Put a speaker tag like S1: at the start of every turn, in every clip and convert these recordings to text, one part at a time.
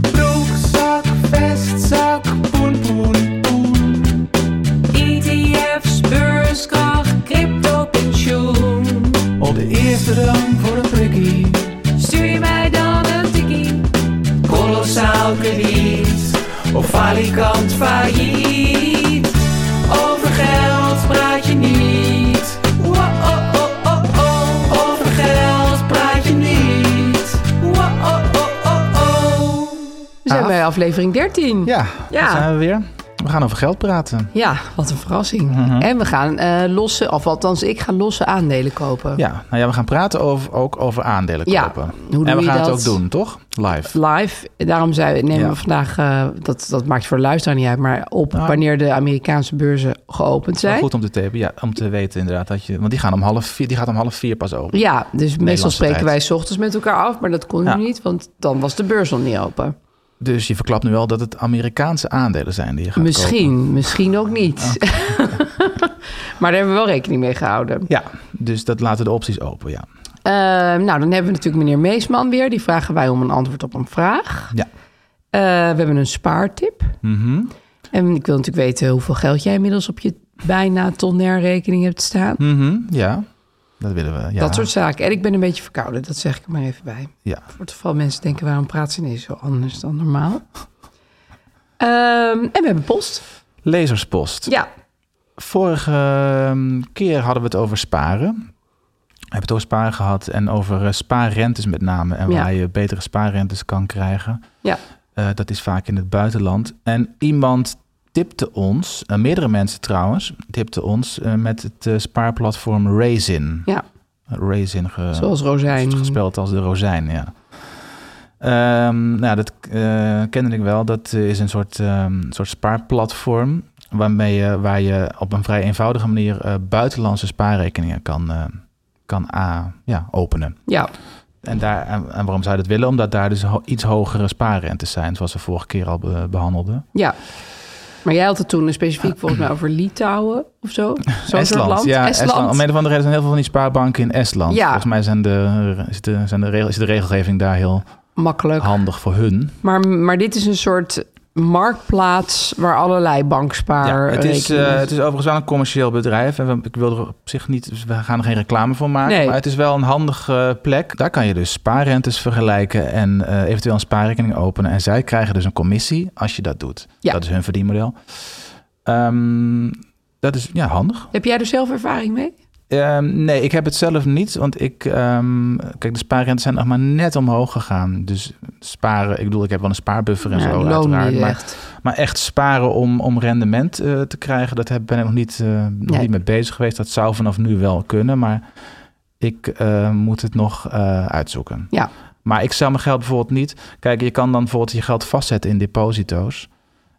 S1: Broekzak, vestzak, poen, poen, poen. ETF's, beurskracht, crypto, pensioen. Op de eerste rang voor een prikkie. Stuur je mij dan een tikkie. Kolossaal krediet. Of falikant failliet. Over geld praat je niet. Wow, oh, oh, oh, oh. Over geld praat je niet. Wow, oh, oh, oh, oh.
S2: We zijn bij aflevering 13.
S3: Ah. Ja,
S2: Ja.
S3: daar zijn we Ah. weer. We gaan over geld praten.
S2: Ja, wat een verrassing.
S3: Mhm.
S2: En we gaan eh losse, of althans, ik ga losse aandelen kopen.
S3: Ja, nou ja, we gaan praten over, ook over aandelen
S2: Ja,
S3: kopen.
S2: hoe doe
S3: en we
S2: je
S3: gaan het
S2: dat?
S3: ook doen, toch? Live.
S2: Live, daarom zei, nemen
S3: Ja.
S2: we vandaag, eh, dat, dat maakt voor de luisteraar niet uit, maar op
S3: Nou.
S2: wanneer de Amerikaanse beurzen geopend
S3: Maar
S2: zijn.
S3: goed om te tapen, ja, om te weten inderdaad. Dat je, want die, gaan om half vier, die gaat om half vier pas open.
S2: Ja, dus meestal spreken
S3: tijd.
S2: wij 's ochtends met elkaar af, maar dat kon
S3: Ja.
S2: nu niet, want dan was de beurs nog niet open.
S3: Dus je verklapt nu wel dat het Amerikaanse aandelen zijn die je gaat
S2: Misschien, misschien ook niet. maar daar hebben we wel rekening mee gehouden.
S3: kopen. Ja, dus dat laten de opties open, ja.
S2: Eh, nou, dan hebben we natuurlijk meneer Meesman weer. Die vragen wij om een antwoord op een vraag.
S3: Ja.
S2: Eh, we hebben een spaartip. En ik wil natuurlijk weten hoeveel geld jij inmiddels op je bijna tonner rekening hebt staan.
S3: Mhm, ja, dat willen we. Ja.
S2: Dat soort zaken. En ik ben een beetje verkouden, dat zeg ik er maar even bij.
S3: Ja.
S2: Voor het geval mensen denken, waarom praat ze ineens zo anders dan normaal? Ehm, en we hebben post.
S3: Lezerspost.
S2: Ja,
S3: Vorige ehm, keer hadden we het over sparen. We hebben het over sparen gehad en over eh, spaarrentes met name. En
S2: Ja.
S3: waar je betere spaarrentes kan krijgen.
S2: ja.
S3: Eh, dat is vaak in het buitenland. En iemand tipte ons, eh, meerdere mensen trouwens, tipte ons eh, met het eh, spaarplatform Raisin.
S2: ja.
S3: Raisin ge-
S2: Zoals rozijn.
S3: gespeld als de rozijn, ja. Ehm, nou, dat eh, kende ik wel. Dat eh, is een soort, ehm, soort spaarplatform waarmee je, waar je op een vrij eenvoudige manier eh, buitenlandse spaarrekeningen kan, eh, kan a, ja, openen.
S2: Ja,
S3: En, daar, en, en waarom zou je dat willen? Omdat daar dus ho- iets hogere spaarrentes zijn, zoals we vorige keer al be- behandelden.
S2: ja. Maar jij had het toen specifiek volgens mij over Litouwen of zo. Zo'n soort land.
S3: ja, Ah. Estland. Om een of andere reden zijn heel veel van die spaarbanken in Estland.
S2: Ja.
S3: Volgens mij zijn de, is, de, zijn de regel, is de regelgeving daar heel
S2: Makkelijk.
S3: handig voor hun.
S2: Maar, maar dit is een soort marktplaats waar allerlei bankspaar.
S3: Ja, het, is,
S2: rekeningen-
S3: eh, het is overigens wel een commercieel bedrijf. En we- ik wil er op zich niet, dus we gaan er geen reclame voor maken.
S2: Nee.
S3: Maar het is wel een handige plek. Daar kan je dus spaarrentes vergelijken en eh, eventueel een spaarrekening openen. En zij krijgen dus een commissie als je dat doet.
S2: Ja.
S3: Dat is hun verdienmodel. Ehm, dat is ja, handig.
S2: Heb jij er zelf ervaring mee?
S3: Ehm, nee, ik heb het zelf niet, want ik... ehm, kijk, de spaarrentes zijn nog maar net omhoog gegaan. Dus sparen, ik bedoel, ik heb wel een spaarbuffer en
S2: Ja,
S3: zo
S2: Nou, loon eh,
S3: uiteraard.
S2: niet
S3: maar,
S2: echt.
S3: maar echt sparen om, om rendement eh, te krijgen, dat heb, ben ik nog niet, eh, nog
S2: Nee.
S3: niet mee bezig geweest. Dat zou vanaf nu wel kunnen, maar ik eh, moet het nog eh, uitzoeken.
S2: Ja,
S3: Maar ik zou mijn geld bijvoorbeeld niet... Kijk, je kan dan bijvoorbeeld je geld vastzetten in deposito's.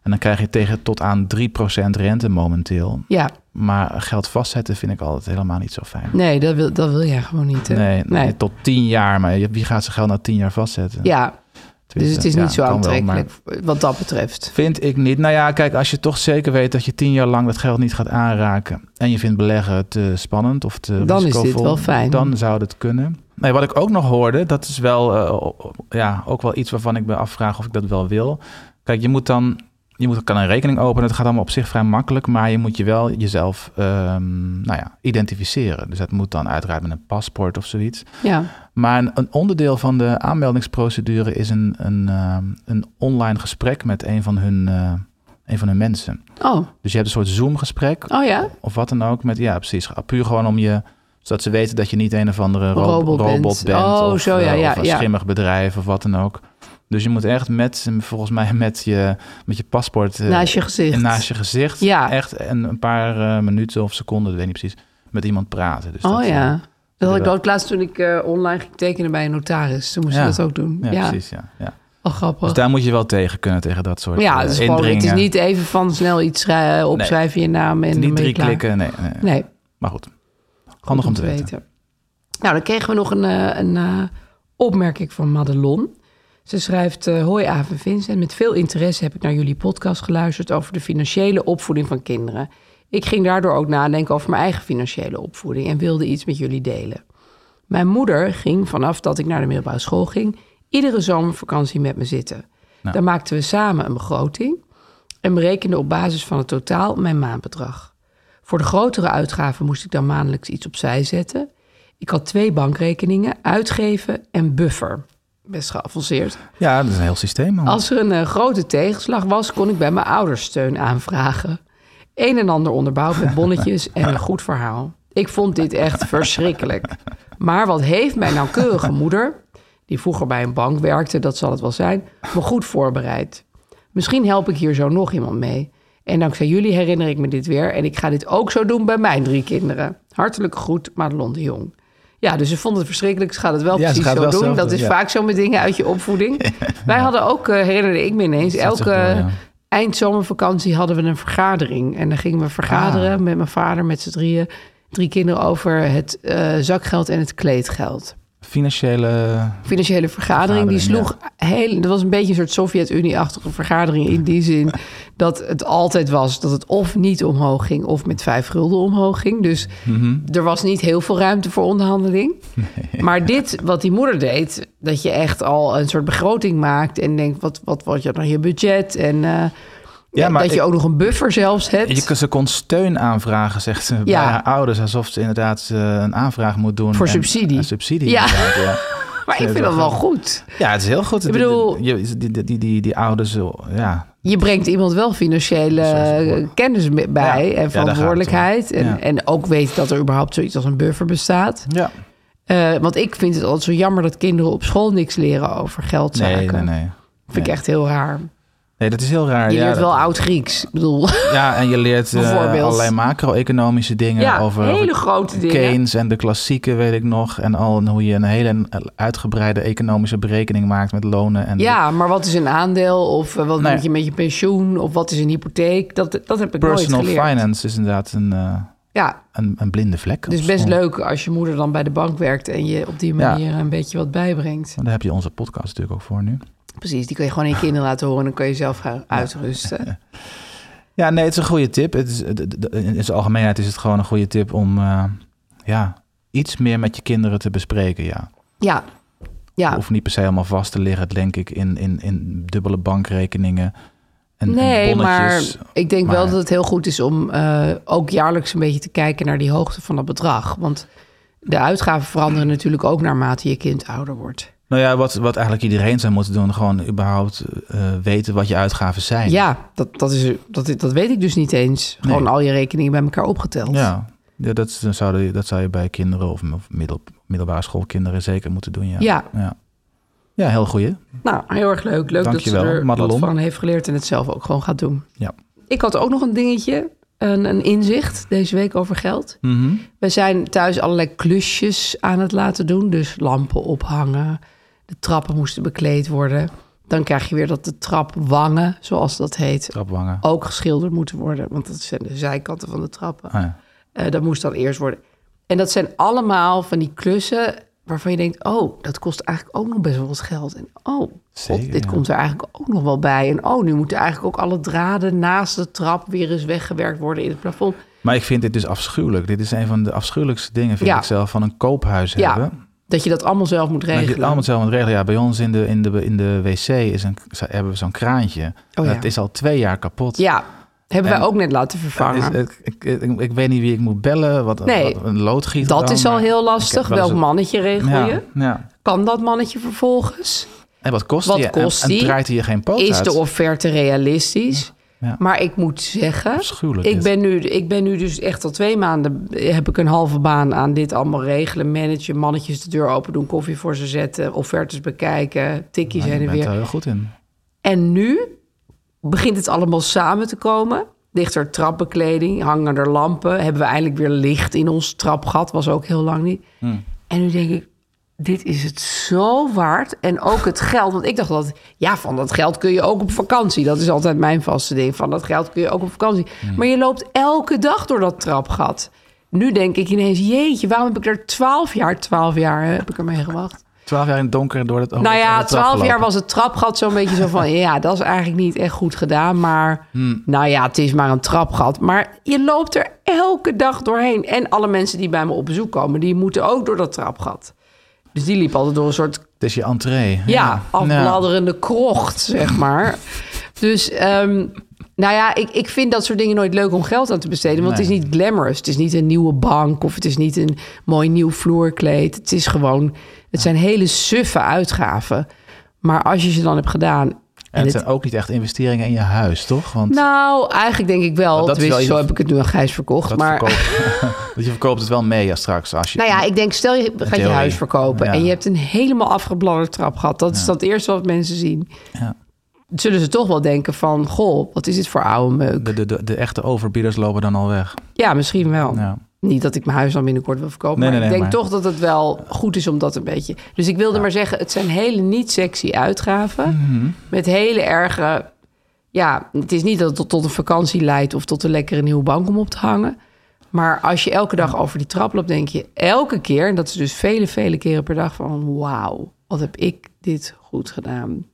S3: En dan krijg je tegen tot aan 3% rente momenteel.
S2: ja.
S3: Maar geld vastzetten vind ik altijd helemaal niet zo fijn.
S2: Nee, dat wil, dat wil jij gewoon niet. eh. Hè?
S3: Nee, nee, tot tien jaar. Maar je- wie gaat zijn geld na tien jaar vastzetten?
S2: Ja, dus
S3: Tenminste,
S2: het is
S3: eh, ja,
S2: niet zo
S3: kan wel, maar
S2: aantrekkelijk wat dat betreft.
S3: Vind ik niet. Nou ja, kijk, als je toch zeker weet dat je tien jaar lang dat geld niet gaat aanraken... en je vindt beleggen te spannend of te
S2: Dan is dit
S3: risicovol,
S2: wel fijn.
S3: Dan zou dat kunnen. Nee, wat ik ook nog hoorde, dat is wel, eh, ja, ook wel iets waarvan ik me afvraag of ik dat wel wil. Kijk, je moet dan je moet, kan een rekening openen. Het gaat allemaal op zich vrij makkelijk. Maar je moet je wel jezelf ehm, nou ja, identificeren. Dus dat moet dan uiteraard met een paspoort of zoiets.
S2: Ja,
S3: Maar een, een onderdeel van de aanmeldingsprocedure is een, een, ehm, een online gesprek met een van, hun, eh, een van hun mensen.
S2: oh,
S3: Dus je hebt een soort Zoom-gesprek
S2: oh ja.
S3: of wat dan ook. Met, ja, precies. Puur gewoon om je zodat ze weten dat je niet een of andere ro-
S2: Robot
S3: robot,
S2: bent.
S3: bent.
S2: Oh,
S3: of,
S2: zo, ja,
S3: eh,
S2: ja,
S3: of een
S2: ja.
S3: schimmig bedrijf of wat dan ook. Dus je moet echt met, volgens mij, met je, met je paspoort eh,
S2: Naast je gezicht.
S3: en naast je gezicht.
S2: Ja.
S3: Echt een, een paar eh, minuten of seconden, ik weet niet precies, met iemand praten. Dus
S2: Oh
S3: dat,
S2: ja.
S3: eh,
S2: Dat had ik
S3: wel.
S2: ook laatst toen ik eh, online ging tekenen bij een notaris. Toen moest
S3: Ja.
S2: je dat ook doen.
S3: ja,
S2: Ja,
S3: precies. Ja, ja.
S2: Oh, grappig.
S3: Dus daar moet je wel tegen kunnen, tegen dat soort
S2: ja,
S3: eh,
S2: het is, gewoon, het is
S3: indringen.
S2: niet even van snel iets schrij- opschrijven, je naam en dan
S3: niet
S2: ben je
S3: drie
S2: klaar.
S3: klikken. Nee, nee.
S2: Nee,
S3: Maar goed, handig om te weten.
S2: Nou, dan kregen we nog een, eh, een eh, opmerking van Madelon. Ze schrijft, eh, hoi Aaf en Vincent, met veel interesse heb ik naar jullie podcast geluisterd over de financiële opvoeding van kinderen. Ik ging daardoor ook nadenken over mijn eigen financiële opvoeding en wilde iets met jullie delen. Mijn moeder ging vanaf dat ik naar de middelbare school ging, iedere zomervakantie met me zitten.
S3: Nou.
S2: Dan maakten we samen een begroting en berekenden op basis van het totaal mijn maandbedrag. Voor de grotere uitgaven moest ik dan maandelijks iets opzij zetten. Ik had twee bankrekeningen, uitgeven en buffer. Best geavanceerd.
S3: Ja, dat is een heel systeem. man.
S2: Als er een eh, grote tegenslag was, kon ik bij mijn ouders steun aanvragen. Een en ander onderbouwd met bonnetjes en een goed verhaal. Ik vond dit echt verschrikkelijk. Maar wat heeft mijn nauwkeurige moeder, die vroeger bij een bank werkte, dat zal het wel zijn, me goed voorbereid. Misschien help ik hier zo nog iemand mee. En dankzij jullie herinner ik me dit weer en ik ga dit ook zo doen bij mijn drie kinderen. Hartelijk groet, Madelon de Jong. Ja, dus ze vond het verschrikkelijk. Ze gaat het wel
S3: Ja, ze
S2: precies
S3: gaat
S2: zo
S3: het wel
S2: doen.
S3: zelf
S2: Dat
S3: doen,
S2: is
S3: ja.
S2: vaak vaak zo met dingen uit je opvoeding. Wij hadden ook, eh, herinnerde ik me ineens,
S3: Dat is echt
S2: elke
S3: wel, ja.
S2: eindzomervakantie hadden we een vergadering. En dan gingen we vergaderen
S3: Ah.
S2: met mijn vader, met z'n drieën, drie kinderen over het eh, zakgeld en het kleedgeld.
S3: Financiële
S2: Financiële vergadering, die sloeg
S3: Vergadering,
S2: heel. Dat was een beetje een soort Sovjet-Unie-achtige vergadering in die zin dat het altijd was dat het of niet omhoog ging of met vijf gulden omhoog ging. Dus
S3: Mhm.
S2: er was niet heel veel ruimte voor onderhandeling. Maar dit, wat die moeder deed, dat je echt al een soort begroting maakt en denkt, wat wat wordt je dan je budget? En eh,
S3: maar
S2: dat je
S3: ik-
S2: ook nog een buffer zelfs hebt.
S3: Je, ze kon steun aanvragen, zegt ze, bij
S2: Ja.
S3: haar ouders. Alsof ze inderdaad eh, een aanvraag moet doen.
S2: Voor
S3: en-
S2: subsidie.
S3: en subsidie,
S2: Ja.
S3: inderdaad, ja.
S2: maar ik vind dat wel goed.
S3: Ja, het is heel goed.
S2: Ik bedoel-
S3: Die, die, die, die, die- die ouders, joh, ja.
S2: je brengt iemand wel financiële eh, kennis mee- bij en
S3: Ja, daar gaat het om.
S2: verantwoordelijkheid. En,
S3: Ja.
S2: en ook weet dat er überhaupt zoiets als een buffer bestaat.
S3: ja.
S2: Eh, want ik vind het altijd zo jammer dat kinderen op school niks leren over geldzaken.
S3: Nee, nee, nee.
S2: Vind ik echt heel raar.
S3: Nee, dat is heel raar.
S2: Je
S3: ja,
S2: leert
S3: dat-
S2: wel oud-Grieks. Ik bedoel,
S3: Ja, en je leert eh,
S2: Bijvoorbeeld.
S3: allerlei macro-economische dingen.
S2: Ja,
S3: over,
S2: hele
S3: over
S2: grote dingen.
S3: Keynes en de klassieke, weet ik nog. En al en hoe je een hele uitgebreide economische berekening maakt met lonen. En
S2: ja, maar wat is een aandeel? Of eh, wat
S3: Nee.
S2: moet je met je pensioen? Of wat is een hypotheek? Dat, dat heb ik
S3: personal
S2: nooit geleerd.
S3: finance is inderdaad een, eh,
S2: Ja,
S3: een, een blinde vlek.
S2: dus
S3: op
S2: best
S3: school.
S2: leuk als je moeder dan bij de bank werkt... en je op die
S3: Ja.
S2: manier een beetje wat bijbrengt.
S3: Daar heb je onze podcast natuurlijk ook voor nu.
S2: Precies, die kun je gewoon aan je kinderen laten horen... en dan kun je zelf gaan uitrusten.
S3: Ja, nee, het is een goede tip. Het is, d- d- d- in zijn algemeenheid is het gewoon een goede tip om eh, ja, iets meer met je kinderen te bespreken. Ja.
S2: Ja, ja.
S3: Hoeft niet per se helemaal vast te liggen, denk ik, in, in, in dubbele bankrekeningen en, en
S2: nee, maar
S3: bonnetjes.
S2: ik denk wel
S3: Maar-
S2: dat het heel goed is om eh, ook jaarlijks een beetje te kijken naar die hoogte van dat bedrag. Want de uitgaven veranderen natuurlijk ook naarmate je kind ouder wordt.
S3: Nou ja, wat, wat eigenlijk iedereen zou moeten doen, gewoon überhaupt eh, weten wat je uitgaven zijn.
S2: Ja, dat, dat, is, dat, is- dat weet ik dus niet eens. Gewoon al je rekeningen bij elkaar opgeteld.
S3: Ja, ja dat, is- dan zou je, dat zou je bij kinderen of m- of middel, middelbare schoolkinderen zeker moeten doen. Ja,
S2: Ja.
S3: ja. Ja, heel goeie.
S2: Nou, heel erg leuk. Leuk
S3: Dankjewel,
S2: dat ze er
S3: Madelon.
S2: wat van heeft geleerd en het zelf ook gewoon gaat doen.
S3: Ja.
S2: Ik had ook nog een dingetje, een, een inzicht deze week over geld. We zijn thuis allerlei klusjes aan het laten doen. Dus lampen ophangen, de trappen moesten bekleed worden. Dan krijg je weer dat de trapwangen, zoals dat heet,
S3: Trapwangen.
S2: ook geschilderd moeten worden. Want dat zijn de zijkanten van de trappen.
S3: Ah, ja.
S2: Eh, dat moest dan eerst worden. En dat zijn allemaal van die klussen waarvan je denkt... oh, dat kost eigenlijk ook nog best wel wat geld. En oh, god,
S3: Zeker,
S2: dit
S3: ja.
S2: komt er eigenlijk ook nog wel bij. En oh, nu moeten eigenlijk ook alle draden naast de trap... weer eens weggewerkt worden in het plafond.
S3: Maar ik vind dit dus afschuwelijk. Dit is een van de afschuwelijkste dingen, vind
S2: Ja.
S3: ik zelf, van een koophuis
S2: Ja.
S3: hebben.
S2: Dat je dat allemaal zelf moet
S3: Maar
S2: regelen.
S3: dit allemaal hetzelfde aan het regelen. Ja, bij ons in de, in de, in de wc is een, hebben we zo'n kraantje.
S2: Oh ja.
S3: Dat is al twee jaar kapot.
S2: Ja, hebben wij
S3: En-
S2: ook net laten
S3: Het
S2: vervangen.
S3: is- het- ik, ik, ik, weet niet wie ik moet bellen. Wat,
S2: Nee.
S3: wat een loodgieter.
S2: dat
S3: dan,
S2: is al
S3: maar
S2: heel
S3: ik
S2: lastig.
S3: heb wel
S2: Welk
S3: eens-
S2: mannetje regel
S3: Ja,
S2: je?
S3: ja.
S2: Kan dat mannetje vervolgens?
S3: En wat kost
S2: Wat
S3: die? En-
S2: kost
S3: en,
S2: die?
S3: draait hij je geen poot
S2: Is
S3: uit?
S2: de offerte realistisch?
S3: ja.
S2: Maar ik moet zeggen,
S3: Afschuwelijk
S2: ik
S3: dit.
S2: ben, nu, ik ben nu dus echt al twee maanden... heb ik een halve baan aan dit allemaal regelen. Managen, mannetjes de deur open doen, koffie voor ze zetten... offertes bekijken, tikjes
S3: Ja,
S2: heen
S3: Nou, je
S2: en
S3: bent er
S2: weer.
S3: heel goed in.
S2: En nu begint het allemaal samen te komen. Ligt er trapbekleding, hangen er lampen. Hebben we eindelijk weer licht in ons trapgat. Was ook heel lang niet. En nu denk ik, dit is het zo waard. En ook het geld. Want ik dacht dat, ja, van dat geld kun je ook op vakantie. Dat is altijd mijn vaste ding. Van dat geld kun je ook op vakantie. Maar je loopt elke dag door dat trapgat. Nu denk ik ineens, jeetje, waarom heb ik er twaalf jaar, twaalf jaar hè, heb ik ermee gewacht?
S3: Twaalf jaar in het donker door het
S2: Nou ja, twaalf
S3: twaalf
S2: jaar was het trapgat zo'n beetje zo van... ja, dat is eigenlijk niet echt goed gedaan, maar... nou ja, het is maar een trapgat. Maar je loopt er elke dag doorheen. En alle mensen die bij me op bezoek komen... die moeten ook door dat trapgat. Dus die liep altijd door een soort...
S3: Het is je entree.
S2: ja, afbladderende krocht, zeg maar. dus... ehm, nou ja, ik, ik vind dat soort dingen nooit leuk om geld aan te besteden. Want het
S3: Nee.
S2: is niet glamorous. Het is niet een nieuwe bank of het is niet een mooi nieuw vloerkleed. Het is gewoon, het zijn hele suffe uitgaven. Maar als je ze dan hebt gedaan. En,
S3: En het
S2: het-
S3: zijn ook niet echt investeringen in je huis, toch? Want
S2: nou, eigenlijk denk ik wel.
S3: Nou, dat is
S2: tenminste,
S3: wel-
S2: zo heb ik het nu aan Gijs verkocht.
S3: dat
S2: maar
S3: verkoopt, dat je verkoopt het wel mee ja, straks. Als je,
S2: nou ja, ik denk, stel je gaat je
S3: theorie.
S2: huis verkopen
S3: Ja.
S2: en je hebt een helemaal afgebladderd trapgat. Dat is dat eerste wat mensen zien.
S3: Ja.
S2: Zullen ze toch wel denken van, goh, wat is dit voor oude meuk?
S3: de, de, de, de echte overbieders lopen dan al weg.
S2: Ja, misschien wel.
S3: Ja.
S2: Niet dat ik mijn huis dan binnenkort wil verkopen.
S3: Nee,
S2: maar
S3: nee,
S2: ik
S3: nee,
S2: denk
S3: maar-
S2: toch dat het wel goed is om dat een beetje. Dus ik wilde maar zeggen, het zijn hele niet sexy uitgaven.
S3: Mhm.
S2: Met hele erge. Ja, het is niet dat het tot, tot een vakantie leidt of tot een lekkere nieuwe bank om op te hangen. Maar als je elke dag over die trap loopt, denk je elke keer, en dat is dus vele, vele keren per dag, van wauw, wat heb ik dit goed gedaan.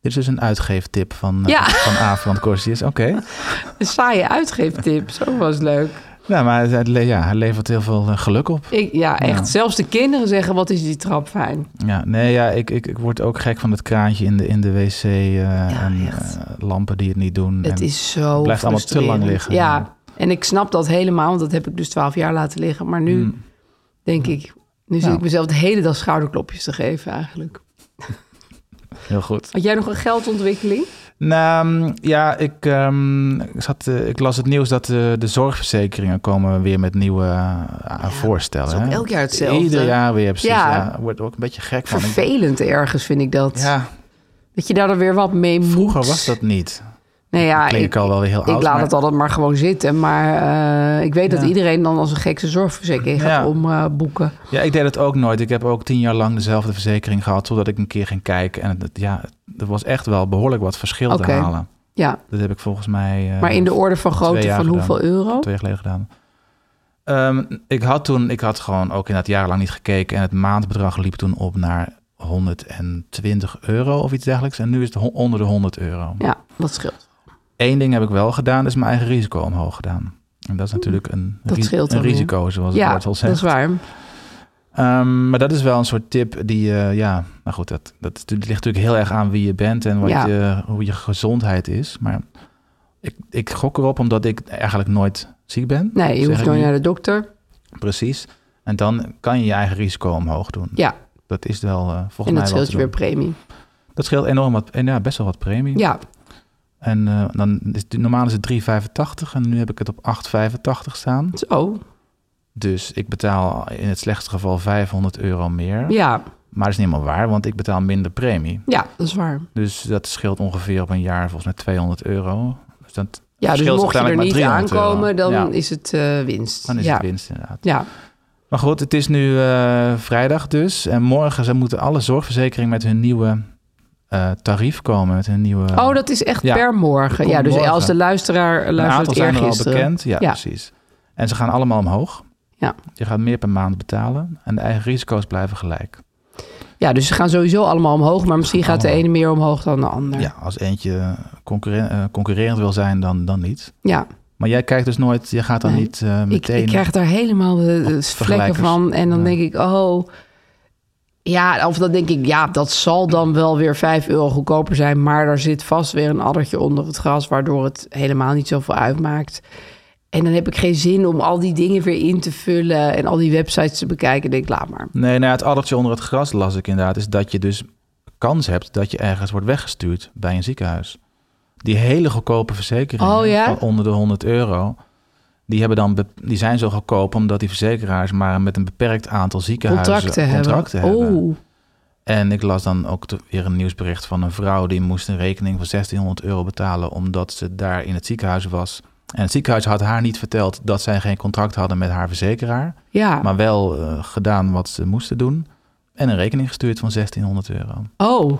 S3: Dit is dus een uitgeeftip van, eh,
S2: Ja.
S3: van Aafland Corsius. Oké.
S2: Een saaie uitgeeftip, zo was leuk.
S3: Nou, maar het le- ja, hij levert heel veel eh, geluk op.
S2: Ik, ja, echt.
S3: Ja.
S2: Zelfs de kinderen zeggen, wat is die trap fijn.
S3: Ja, nee, ja, ik, ik, ik word ook gek van het kraantje in de, in de wc eh, en
S2: echt.
S3: eh, lampen die het niet doen.
S2: Het
S3: en,
S2: is zo
S3: blijft allemaal te lang
S2: frustrerend.
S3: liggen.
S2: Ja, en ik snap dat helemaal, want dat heb ik dus twaalf jaar laten liggen. Maar nu denk ik, nu zit
S3: Mm. Ja.
S2: ik mezelf de hele dag schouderklopjes te geven eigenlijk.
S3: Heel goed.
S2: Had jij nog een geldontwikkeling?
S3: Nou, mm, ja, ik, ehm, ik zat, eh, ik las het nieuws dat eh, de zorgverzekeringen komen weer met nieuwe eh, voorstellen.
S2: het is ook
S3: hè.
S2: elk jaar hetzelford.
S3: Ieder jaar weer, precies.
S2: Ja.
S3: Ja. ik word er ook een beetje gek van. Ik-
S2: Vervelend ergens vind ik dat.
S3: Ja,
S2: Dat je daar dan weer wat mee moet.
S3: vroeger was dat niet.
S2: Nee, Nou ja,
S3: Klink ik, al wel weer heel
S2: ik
S3: oud.
S2: laat
S3: maar-
S2: het altijd maar gewoon zitten. Maar eh, ik weet dat
S3: Ja.
S2: iedereen dan als een gekse zorgverzekering gaat
S3: Ja.
S2: omboeken.
S3: Ja, ik deed het ook nooit. Ik heb ook tien jaar lang dezelfde verzekering gehad, totdat ik een keer ging kijken. En het, ja, er was echt wel behoorlijk wat verschil
S2: Oké.
S3: te halen.
S2: ja,
S3: Dat heb ik volgens mij... eh,
S2: maar in de orde van grootte
S3: jaar
S2: van
S3: gedaan.
S2: hoeveel euro?
S3: twee jaar geleden gedaan. Ehm, ik had toen, ik had gewoon ook inderdaad jarenlang niet gekeken. En het maandbedrag liep toen op naar 120 euro of iets dergelijks. En nu is het ho- onder de 100 euro.
S2: Ja, dat scheelt.
S3: Eén ding heb ik wel gedaan, is mijn eigen risico omhoog gedaan. En dat is natuurlijk een,
S2: Dat
S3: ri-
S2: scheelt
S3: een
S2: dan weer.
S3: risico, zoals het
S2: Ja,
S3: woord al
S2: dat
S3: zegt.
S2: is waar.
S3: Ehm, maar dat is wel een soort tip die, eh, ja, nou goed, dat, dat ligt natuurlijk heel erg aan wie je bent en wat
S2: Ja.
S3: je, hoe je gezondheid is. Maar ik, ik gok erop omdat ik eigenlijk nooit ziek ben.
S2: Nee, je
S3: Zeg
S2: hoeft
S3: ik
S2: nooit
S3: nu.
S2: naar de dokter.
S3: Precies. En dan kan je je eigen risico omhoog doen.
S2: Ja,
S3: Dat is wel eh, volgens
S2: en
S3: mij
S2: dat scheelt
S3: wel te
S2: je weer
S3: doen.
S2: premie.
S3: Dat scheelt enorm wat, en ja, best wel wat premie.
S2: Ja,
S3: En eh, dan is het- normaal is het 3,85 en nu heb ik het op 8,85 staan.
S2: zo.
S3: Dus ik betaal in het slechtste geval 500 euro meer.
S2: Ja,
S3: Maar dat is niet helemaal waar, want ik betaal minder premie.
S2: ja, dat is waar.
S3: Dus dat scheelt ongeveer op een jaar volgens mij 200 euro. Dus dat
S2: Ja, dus
S3: scheelt
S2: mocht je er
S3: uiteindelijk
S2: niet
S3: maar 300 euro.
S2: aankomen, dan
S3: Ja,
S2: is het eh, winst.
S3: dan is
S2: ja.
S3: het winst inderdaad.
S2: Ja,
S3: Maar goed, het is nu eh, vrijdag dus. En morgen ze moeten alle zorgverzekeringen met hun nieuwe eh, tarief komen. Met hun nieuwe...
S2: oh, dat is echt
S3: ja.
S2: per morgen.
S3: Komt
S2: Ja, dus
S3: morgen.
S2: als de luisteraar
S3: een aantal
S2: luistert
S3: zijn er al
S2: eergisteren.
S3: bekend. Ja,
S2: Ja.
S3: precies. En ze gaan allemaal omhoog.
S2: Ja.
S3: Je gaat meer per maand betalen. En de eigen risico's blijven gelijk.
S2: Ja, dus ze gaan sowieso allemaal omhoog, maar misschien gaat de
S3: Allemaal.
S2: ene meer omhoog dan de ander.
S3: Ja, als eentje concurren- eh, concurrerend wil zijn, dan, dan niet.
S2: Ja.
S3: Maar jij kijkt dus nooit, je gaat dan
S2: Nee.
S3: niet eh,
S2: Ik,
S3: meteen...
S2: ik krijg daar helemaal de, de vlekken
S3: vergelijkers.
S2: van. En dan
S3: Ja.
S2: denk ik, oh, Ja, of dan denk ik, ja, dat zal dan wel weer 5 euro goedkoper zijn. Maar daar zit vast weer een addertje onder het gras, waardoor het helemaal niet zoveel uitmaakt. En dan heb ik geen zin om al die dingen weer in te vullen en al die websites te bekijken. Ik Denk, laat maar.
S3: Nee, nou, het addertje onder het gras las ik inderdaad, is dat je dus kans hebt dat je ergens wordt weggestuurd bij een ziekenhuis. Die hele goedkope verzekeringen
S2: Oh, ja?
S3: van onder de 100 euro, die, hebben dan be- die zijn zo goedkoop omdat die verzekeraars maar met een beperkt aantal ziekenhuizen
S2: Contracten,
S3: contracten
S2: hebben.
S3: hebben.
S2: Oh,
S3: En ik las dan ook te- weer een nieuwsbericht van een vrouw die moest een rekening van 1600 euro betalen omdat ze daar in het ziekenhuis was. En het ziekenhuis had haar niet verteld dat zij geen contract hadden met haar verzekeraar,
S2: ja.
S3: maar wel eh, gedaan wat ze moesten doen. En een rekening gestuurd van 1600 euro.
S2: oh,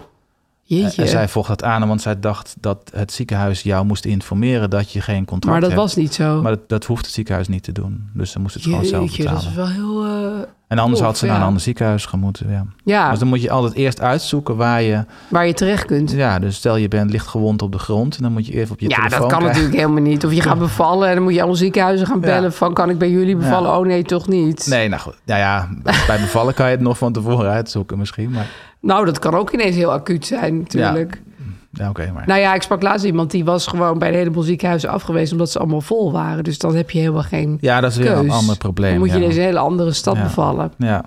S2: jeetje.
S3: En zij vocht dat aan, want zij dacht dat het ziekenhuis jou moest informeren dat je geen contract
S2: maar dat
S3: hebt.
S2: was niet zo.
S3: Maar dat, dat hoeft het ziekenhuis niet te doen. Dus ze moest het gewoon zelf
S2: Jeetje, dat
S3: betalen.
S2: is wel heel... eh,
S3: En anders
S2: tof,
S3: had ze
S2: ja.
S3: naar een ander ziekenhuis gemoeten. Ja.
S2: ja,
S3: Dus dan moet je altijd eerst uitzoeken waar je...
S2: waar je terecht kunt.
S3: Ja, dus stel je bent lichtgewond op de grond... en dan moet je even op je
S2: Ja,
S3: telefoon
S2: dat kan
S3: kijken.
S2: natuurlijk helemaal niet. Of je gaat bevallen en dan moet je alle ziekenhuizen gaan
S3: Ja.
S2: bellen van... kan ik bij jullie bevallen?
S3: Ja.
S2: Oh nee, toch niet.
S3: Nee, nou goed. Nou ja, bij bevallen kan je het nog van tevoren uitzoeken misschien. Maar
S2: Nou, dat kan ook ineens heel acuut zijn natuurlijk.
S3: ja, oké. maar
S2: Nou ja, ik sprak laatst iemand die was gewoon bij een heleboel ziekenhuizen afgewezen... omdat ze allemaal vol waren. Dus dan heb je helemaal geen
S3: ja, dat is weer
S2: keus.
S3: een ander probleem.
S2: Dan moet je
S3: ja.
S2: deze hele andere stad
S3: Ja.
S2: bevallen.
S3: ja,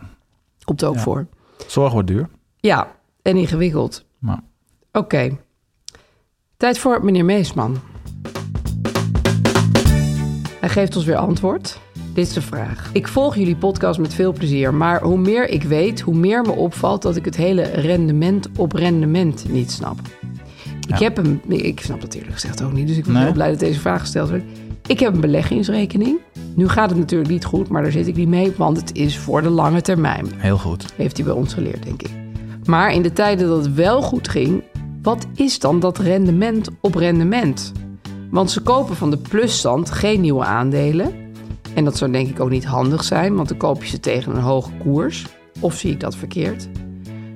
S2: Komt ook
S3: Ja.
S2: voor.
S3: zorg wordt duur.
S2: Ja, en ingewikkeld.
S3: Maar
S2: Oké. Tijd voor meneer Meesman. Hij geeft ons weer antwoord. Dit is de vraag. Ik volg jullie podcast met veel plezier, maar hoe meer ik weet, hoe meer me opvalt dat ik het hele rendement op rendement niet snap. Ik heb een, ik snap dat eerlijk gezegd ook niet, dus ik ben
S3: Nee.
S2: heel blij dat deze vraag gesteld wordt. Ik heb een beleggingsrekening. Nu gaat het natuurlijk niet goed, maar daar zit ik niet mee, want het is voor de lange termijn
S3: heel goed.
S2: heeft hij bij ons geleerd, denk ik. Maar in de tijden dat het wel goed ging, wat is dan dat rendement op rendement? Want ze kopen van de plusstand geen nieuwe aandelen. En dat zou denk ik ook niet handig zijn, want dan koop je ze tegen een hoge koers. Of zie ik dat verkeerd?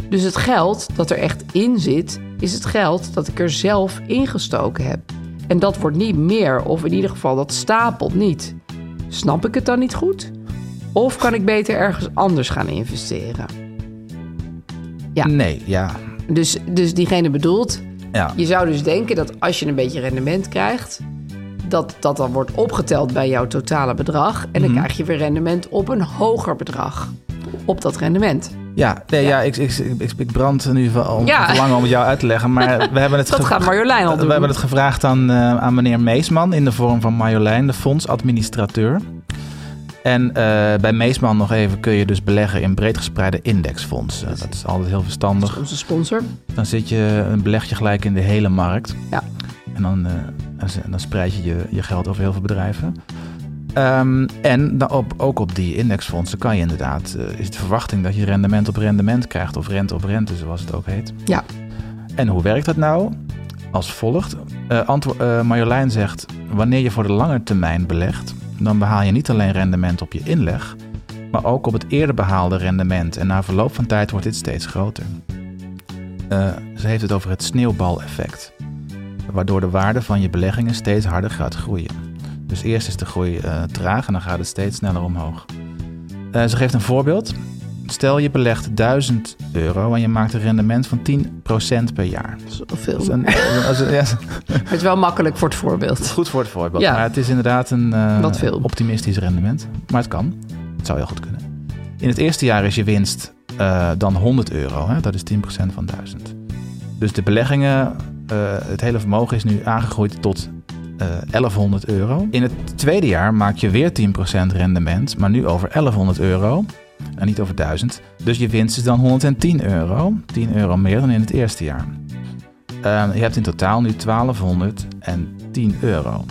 S2: Dus het geld dat er echt in zit, is het geld dat ik er zelf ingestoken heb. En dat wordt niet meer, of in ieder geval dat stapelt niet. Snap ik het dan niet goed? Of kan ik beter ergens anders gaan investeren? Ja.
S3: Nee, ja.
S2: Dus, dus diegene bedoelt,
S3: ja.
S2: je zou dus denken dat als je een beetje rendement krijgt, dat dat dan wordt opgeteld bij jouw totale bedrag. En dan
S3: Mhm.
S2: krijg je weer rendement op een hoger bedrag. Op dat rendement.
S3: Ja, nee, ja. ik, ik, ik, ik brand nu wel al
S2: Ja.
S3: te lang om het jou uit te leggen. Maar we hebben het,
S2: Dat
S3: ge-
S2: gaat Marjolein al doen.
S3: we hebben het gevraagd aan, eh, aan meneer Meesman in de vorm van Marjolein, de fondsadministrateur. En eh, bij Meesman nog even kun je dus beleggen in breed gespreide indexfondsen. Dat is altijd heel verstandig.
S2: Onze sponsor.
S3: Dan zit je, dan beleg je gelijk in de hele markt.
S2: Ja.
S3: En dan, eh, en ze- en dan spreid je, je je geld over heel veel bedrijven. Ehm, en dan op, ook op die indexfondsen kan je inderdaad, eh, is de verwachting dat je rendement op rendement krijgt, of rente op rente, zoals het ook heet.
S2: Ja.
S3: En hoe werkt dat nou? Als volgt. Eh, antwo- eh, Marjolein zegt, wanneer je voor de lange termijn belegt, dan behaal je niet alleen rendement op je inleg, maar ook op het eerder behaalde rendement. En na verloop van tijd wordt dit steeds groter. Eh, ze heeft het over het sneeuwbaleffect, waardoor de waarde van je beleggingen steeds harder gaat groeien. Dus eerst is de groei eh, traag en dan gaat het steeds sneller omhoog. Eh, ze geeft een voorbeeld. Stel je belegt 1000 euro en je maakt een rendement van 10% per jaar.
S2: Zoveel.
S3: Dat is een- dat is- ja, dat is
S2: Maar Het is wel makkelijk voor het voorbeeld.
S3: goed voor het voorbeeld.
S2: Ja.
S3: Maar het is inderdaad een eh,
S2: Wat veel.
S3: optimistisch rendement. Maar het kan. Het zou heel goed kunnen. In het eerste jaar is je winst eh, dan 100 euro. Hè? Dat is 10% van 1000. Dus de beleggingen, eh, het hele vermogen is nu aangegroeid tot eh, 1100 euro. In het tweede jaar maak je weer 10% rendement, maar nu over 1100 euro. En niet over 1000. Dus je winst is dan 110 euro. 10 euro meer dan in het eerste jaar. Ehm, je hebt in totaal nu 1210 euro.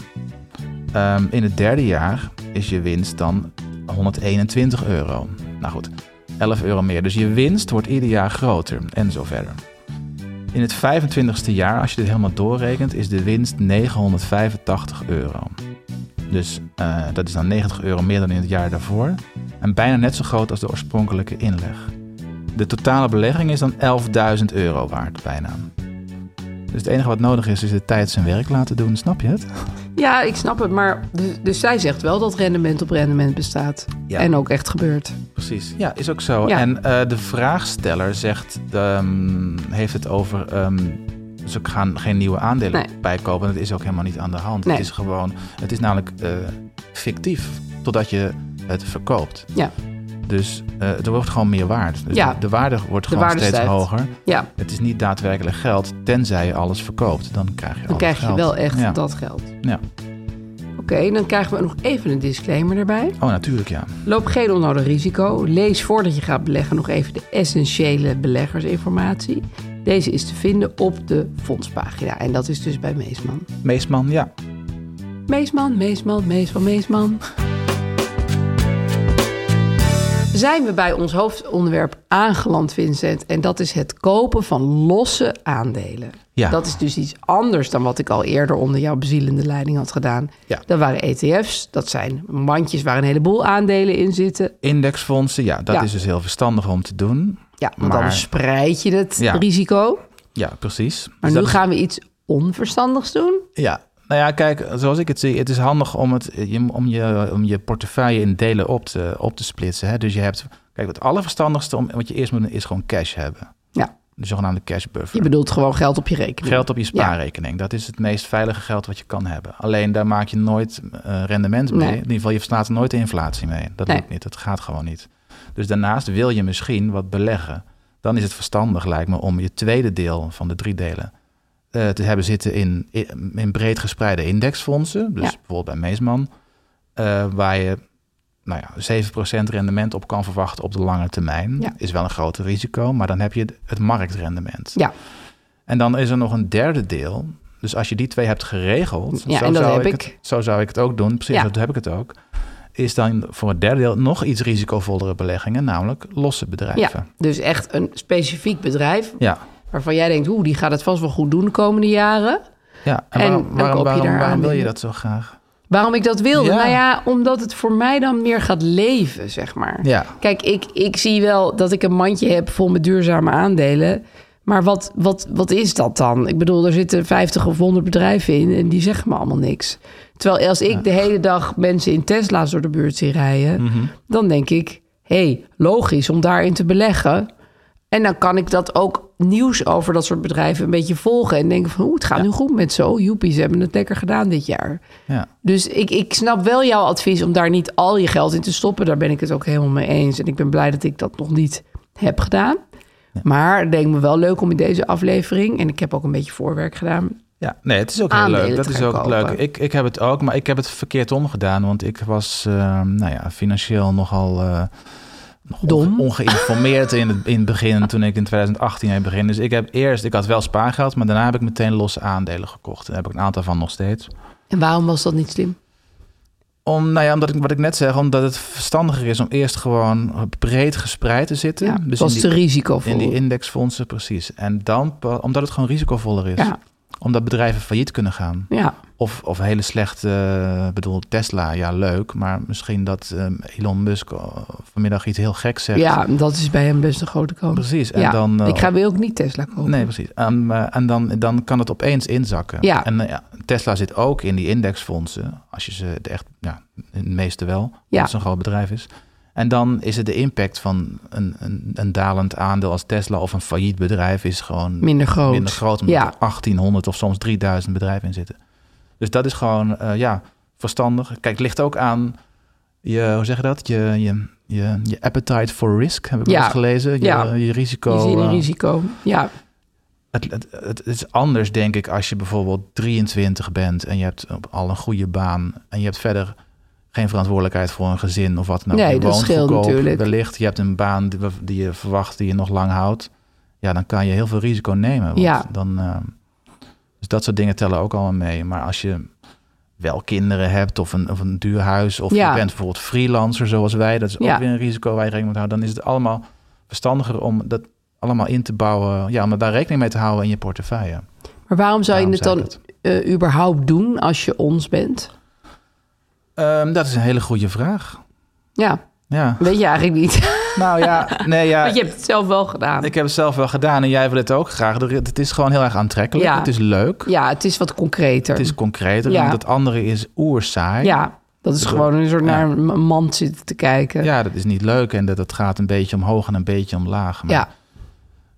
S3: Ehm, in het derde jaar is je winst dan 121 euro. Nou goed, 11 euro meer. Dus je winst wordt ieder jaar groter en zo verder. In het 25ste jaar, als je dit helemaal doorrekent, is de winst 985 euro. Dus eh, dat is dan 90 euro meer dan in het jaar daarvoor. En bijna net zo groot als de oorspronkelijke inleg. De totale belegging is dan 11.000 euro waard, bijna. Dus het enige wat nodig is, is de tijd zijn werk laten doen. Snap je het?
S2: Ja, ik snap het, maar dus, dus zij zegt wel dat rendement op rendement bestaat.
S4: Ja.
S2: En ook echt gebeurt.
S3: Precies, ja, is ook zo.
S2: Ja.
S3: En eh, de vraagsteller zegt, ehm, heeft het over, ehm, ze gaan geen nieuwe aandelen
S2: Nee.
S3: bijkopen. Dat is ook helemaal niet aan de hand.
S2: Nee.
S3: Het is gewoon, het is namelijk eh, fictief, totdat je het verkoopt.
S2: Ja.
S3: Dus eh er wordt gewoon meer waard. Dus
S2: Ja.
S3: de, de waarde wordt gewoon
S2: waarde
S3: steeds
S2: stijgt.
S3: hoger.
S2: Ja,
S3: Het is niet daadwerkelijk geld, tenzij je alles verkoopt. Dan krijg je
S2: dan krijg je wel echt
S3: ja.
S2: dat geld.
S3: Ja.
S2: Oké, dan krijgen we nog even een disclaimer erbij.
S3: Oh, natuurlijk ja.
S2: Loop geen onnodig risico. Lees voordat je gaat beleggen nog even de essentiële beleggersinformatie. Deze is te vinden op de fondspagina. En dat is dus bij Meesman.
S3: Meesman, ja.
S2: Meesman, Meesman, Meesman, Meesman. Zijn we bij ons hoofdonderwerp aangeland, Vincent? En dat is het kopen van losse aandelen.
S3: Ja.
S2: Dat is dus iets anders dan wat ik al eerder onder jouw bezielende leiding had gedaan.
S3: Ja.
S2: Dat waren ETF's, dat zijn mandjes waar een heleboel aandelen in zitten.
S3: Indexfondsen, ja, dat
S2: Ja.
S3: is dus heel verstandig om te doen.
S2: Ja, want
S3: Maar-
S2: dan spreid je het
S3: Ja.
S2: risico.
S3: Ja, precies.
S2: Maar
S3: Dus
S2: nu
S3: dat is-
S2: gaan we iets onverstandigs doen.
S3: Ja, nou ja, kijk, zoals ik het zie, het is handig om, het, eh, je- om, je, om je portefeuille in delen op te, op te splitsen. Hè? Dus je hebt, kijk, het allerverstandigste om, wat je eerst moet doen, is gewoon cash hebben.
S2: Ja,
S3: De zogenaamde cash buffer.
S2: je bedoelt gewoon geld op je rekening.
S3: Geld op je spaarrekening. Dat is het meest veilige geld wat je kan hebben. Alleen daar maak je nooit eh, rendement mee.
S2: Nee.
S3: In ieder geval, je verstaat er nooit de inflatie mee. Dat
S2: Nee.
S3: lukt niet. Dat gaat gewoon niet. Dus daarnaast wil je misschien wat beleggen. Dan is het verstandig, lijkt me, om je tweede deel van de drie delen eh, te hebben zitten in, in, in breed gespreide indexfondsen. Dus
S2: Ja.
S3: bijvoorbeeld bij Meesman. eh, waar je nou ja, 7% rendement op kan verwachten op de lange termijn.
S2: Ja.
S3: Is wel een groot risico, maar dan heb je het marktrendement.
S2: Ja,
S3: En dan is er nog een derde deel. Dus als je die twee hebt geregeld,
S2: Ja, en dat
S3: zou
S2: heb ik.
S3: Het, zo zou ik het ook doen. Precies,
S2: Ja.
S3: dat heb ik het ook. Is dan voor het derde deel nog iets risicovollere beleggingen, namelijk losse
S2: ja,
S3: bedrijven.
S2: dus echt een specifiek bedrijf
S3: Ja,
S2: waarvan jij denkt, oeh, die gaat het vast wel goed doen de komende jaren.
S3: ja.
S2: En
S3: waarom-
S2: dan
S3: waarom,
S2: koop je
S3: waarom,
S2: daar
S3: waarom wil je
S2: aandelen.
S3: dat zo graag?
S2: Waarom ik dat wilde?
S3: Ja.
S2: Nou ja, omdat het voor mij dan meer gaat leven, zeg maar.
S3: Ja.
S2: Kijk, ik, ik zie wel dat ik een mandje heb vol met duurzame aandelen. Maar wat, wat, wat is dat dan? Ik bedoel, er zitten 50 of 100 bedrijven in en die zeggen me allemaal niks. Terwijl als ik de hele dag mensen in Tesla's door de buurt zie rijden,
S3: Mhm.
S2: dan denk ik, hé, hey, logisch om daarin te beleggen. En dan kan ik dat ook nieuws over dat soort bedrijven een beetje volgen. En denken van, oeh, het gaat nu goed met zo. Joepie, ze hebben het lekker gedaan dit jaar.
S3: Ja.
S2: Dus ik, ik snap wel jouw advies om daar niet al je geld in te stoppen. Daar ben ik het ook helemaal mee eens. En ik ben blij dat ik dat nog niet heb gedaan. Maar het leek me wel leuk om in deze aflevering... en ik heb ook een beetje voorwerk gedaan.
S3: Ja, nee, het is ook heel
S2: Aandelen
S3: leuk. Dat
S2: te
S3: is
S2: gaan
S3: ook het
S2: kopen.
S3: leuke. Ik, ik heb het ook, maar ik heb het verkeerd omgedaan. Want ik was eh, nou ja, financieel nogal eh, nog onge-
S2: Dom.
S3: ongeïnformeerd in het, in het begin, toen ik in 2018 heb begin. Dus ik heb eerst, ik had wel spaargeld, maar daarna heb ik meteen losse aandelen gekocht. Daar heb ik een aantal van nog steeds.
S2: En waarom was dat niet slim?
S3: Om, nou ja, omdat ik, wat ik net zeg, omdat het verstandiger is om eerst gewoon breed gespreid te zitten.
S2: Ja,
S3: Dus
S2: het
S3: in
S2: was
S3: die-
S2: te risicovol.
S3: in die indexfondsen, precies. En dan, pa- omdat het gewoon risicovoller is.
S2: Ja.
S3: Omdat bedrijven failliet kunnen gaan.
S2: ja,
S3: Of, of hele slechte, eh, bedoel Tesla, ja leuk, maar misschien dat ehm, Elon Musk eh, vanmiddag iets heel gek zegt.
S2: ja, dat is bij hem best een grote kans.
S3: Precies, en
S2: Ja,
S3: dan, eh,
S2: ik ga weer ook niet Tesla kopen.
S3: Nee, precies. En, eh, en dan, dan kan het opeens inzakken.
S2: Ja.
S3: En eh, ja, Tesla zit ook in die indexfondsen, als je ze de echt, ja, de meeste wel, omdat
S2: Ja.
S3: het zo'n groot bedrijf is. En dan is het de impact van een, een, een dalend aandeel als Tesla of een failliet bedrijf is gewoon
S2: Minder groot.
S3: minder groot omdat
S2: Ja.
S3: er 1800 of soms 3000 bedrijven in zitten. Dus dat is gewoon eh, ja, verstandig. Kijk, het ligt ook aan je, hoe zeg je dat? Je, je, je, je appetite for risk, heb ik wel
S2: Ja.
S3: eens gelezen. Je,
S2: Ja.
S3: je risico.
S2: Je ziet een
S3: eh,
S2: risico. Ja,
S3: het, het, het is anders, denk ik, als je bijvoorbeeld 23 bent en je hebt al een goede baan en je hebt verder geen verantwoordelijkheid voor een gezin of wat nou.
S2: Nee,
S3: je
S2: dat scheelt natuurlijk.
S3: Wellicht, je hebt een baan die, we- die je verwacht, die je nog lang houdt. Ja, dan kan je heel veel risico nemen. want
S2: Ja.
S3: Dan, eh, dus dat soort dingen tellen ook allemaal mee. Maar als je wel kinderen hebt of een, of een duur huis... of
S2: Ja.
S3: je bent bijvoorbeeld freelancer zoals wij... dat is ook
S2: Ja.
S3: weer een risico waar je rekening mee moet houden... dan is het allemaal verstandiger om dat allemaal in te bouwen... ja, om daar rekening mee te houden in je portefeuille.
S2: maar waarom zou je
S3: Daarom
S2: het
S3: zei
S2: dan eh, überhaupt doen als je ons bent?
S3: Ehm, dat is een hele goede vraag.
S2: Ja,
S3: Ja,
S2: weet je eigenlijk niet.
S3: Nou ja, nee ja.
S2: Want je hebt het zelf wel gedaan.
S3: Ik heb het zelf wel gedaan en jij wil het ook graag. Er- Het is gewoon heel erg aantrekkelijk.
S2: Ja.
S3: Het is leuk.
S2: Ja, het is wat concreter.
S3: Het is concreter.
S2: Ja.
S3: En dat andere is oerzaai.
S2: ja, dat is gewoon een soort naar een mand zitten te kijken.
S3: ja, dat is niet leuk. En dat, dat gaat een beetje omhoog en een beetje omlaag. Maar
S2: Ja.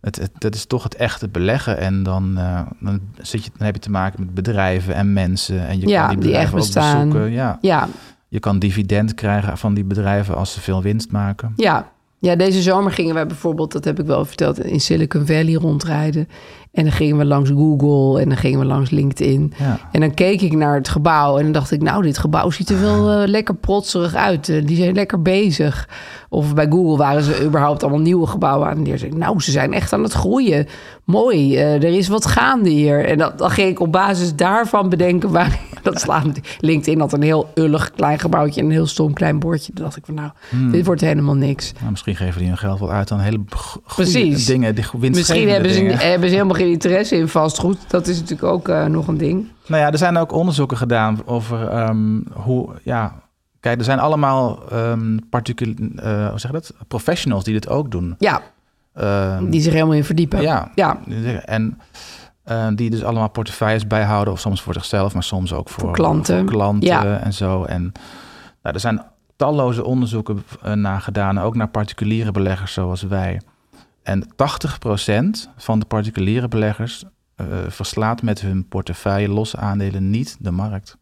S3: het, het, dat is toch het echte beleggen. En dan, eh, dan, zit je, dan heb je te maken met bedrijven en mensen. En je
S2: Ja,
S3: kan die
S2: die echt
S3: bedrijven ook
S2: bestaan.
S3: bezoeken. Ja.
S2: Ja,
S3: Je kan dividend krijgen van die bedrijven als ze veel winst maken.
S2: ja. Ja, deze zomer gingen wij bijvoorbeeld, dat heb ik wel verteld, in Silicon Valley rondrijden. En dan gingen we langs Google en dan gingen we langs LinkedIn.
S3: Ja.
S2: En dan keek ik naar het gebouw en dan dacht ik, nou, dit gebouw ziet er wel eh, lekker protserig uit. Eh, die zijn lekker bezig. Of bij Google waren ze überhaupt allemaal nieuwe gebouwen aan het neerzetten. Nou, ze zijn echt aan het groeien. Mooi, eh, er is wat gaande hier. En dat, dan ging ik op basis daarvan bedenken waar... Dat slaat natuurlijk- LinkedIn had een heel ullig klein gebouwtje en een heel stom klein bordje. Toen dacht ik van, nou,
S3: Hmm.
S2: dit wordt helemaal niks.
S3: Nou, misschien geven die hun geld wel uit aan hele go- goede
S2: Precies.
S3: dingen. Die winstgevende
S2: Misschien hebben ze,
S3: dingen.
S2: hebben ze helemaal geen interesse in vastgoed. Dat is natuurlijk ook eh, nog een ding.
S3: Nou ja, er zijn ook onderzoeken gedaan over ehm, hoe, ja, kijk, er zijn allemaal ehm particu- eh, hoe zeg je dat? professionals die dit ook doen.
S2: Ja,
S3: Ehm,
S2: die zich helemaal in verdiepen.
S3: ja.
S2: ja.
S3: En eh, die dus allemaal portefeuilles bijhouden, of soms voor zichzelf, maar soms ook voor,
S2: Voor klanten.
S3: voor klanten
S2: Ja.
S3: en zo. En nou, er zijn talloze onderzoeken eh, naar gedaan, ook naar particuliere beleggers zoals wij. En 80% van de particuliere beleggers eh, verslaat met hun portefeuille losse aandelen niet de markt.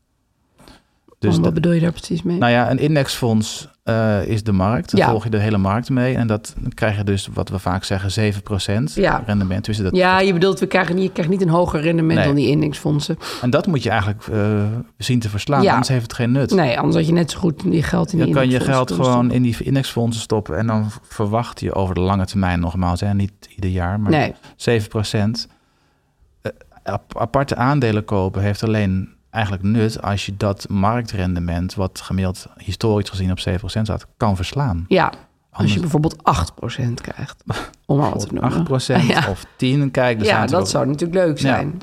S2: Dus wat
S3: dat-
S2: bedoel je daar precies mee?
S3: nou ja, een indexfonds eh, is de markt. Dan
S2: Ja.
S3: volg je de hele markt mee. En dat dan krijg je dus, wat we vaak zeggen, 7%
S2: Ja.
S3: rendement. Dus dat,
S2: ja, je bedoelt, we krijgen niet, je krijgt niet een hoger rendement
S3: Nee.
S2: dan die indexfondsen.
S3: En dat moet je eigenlijk eh, zien te verslaan,
S2: Ja.
S3: anders heeft het geen nut.
S2: Nee, anders had je net zo goed je geld in die
S3: Dan kan je
S2: indexfondsen
S3: geld
S2: kunnen
S3: gewoon
S2: stoppen.
S3: in die indexfondsen stoppen. En dan verwacht je over de lange termijn nogmaals, hè, niet ieder jaar, maar
S2: Nee.
S3: 7 procent. Eh, aparte aandelen kopen heeft alleen eigenlijk nut als je dat marktrendement, wat gemiddeld historisch gezien op 7 staat, kan verslaan.
S2: Ja, als
S3: Anders-
S2: je bijvoorbeeld 8% krijgt, om maar wat te noemen.
S3: 8 procent
S2: Ja,
S3: of 10, kijk, er
S2: Ja,
S3: zijn natuurlijk
S2: dat zou natuurlijk leuk
S3: Ja.
S2: zijn.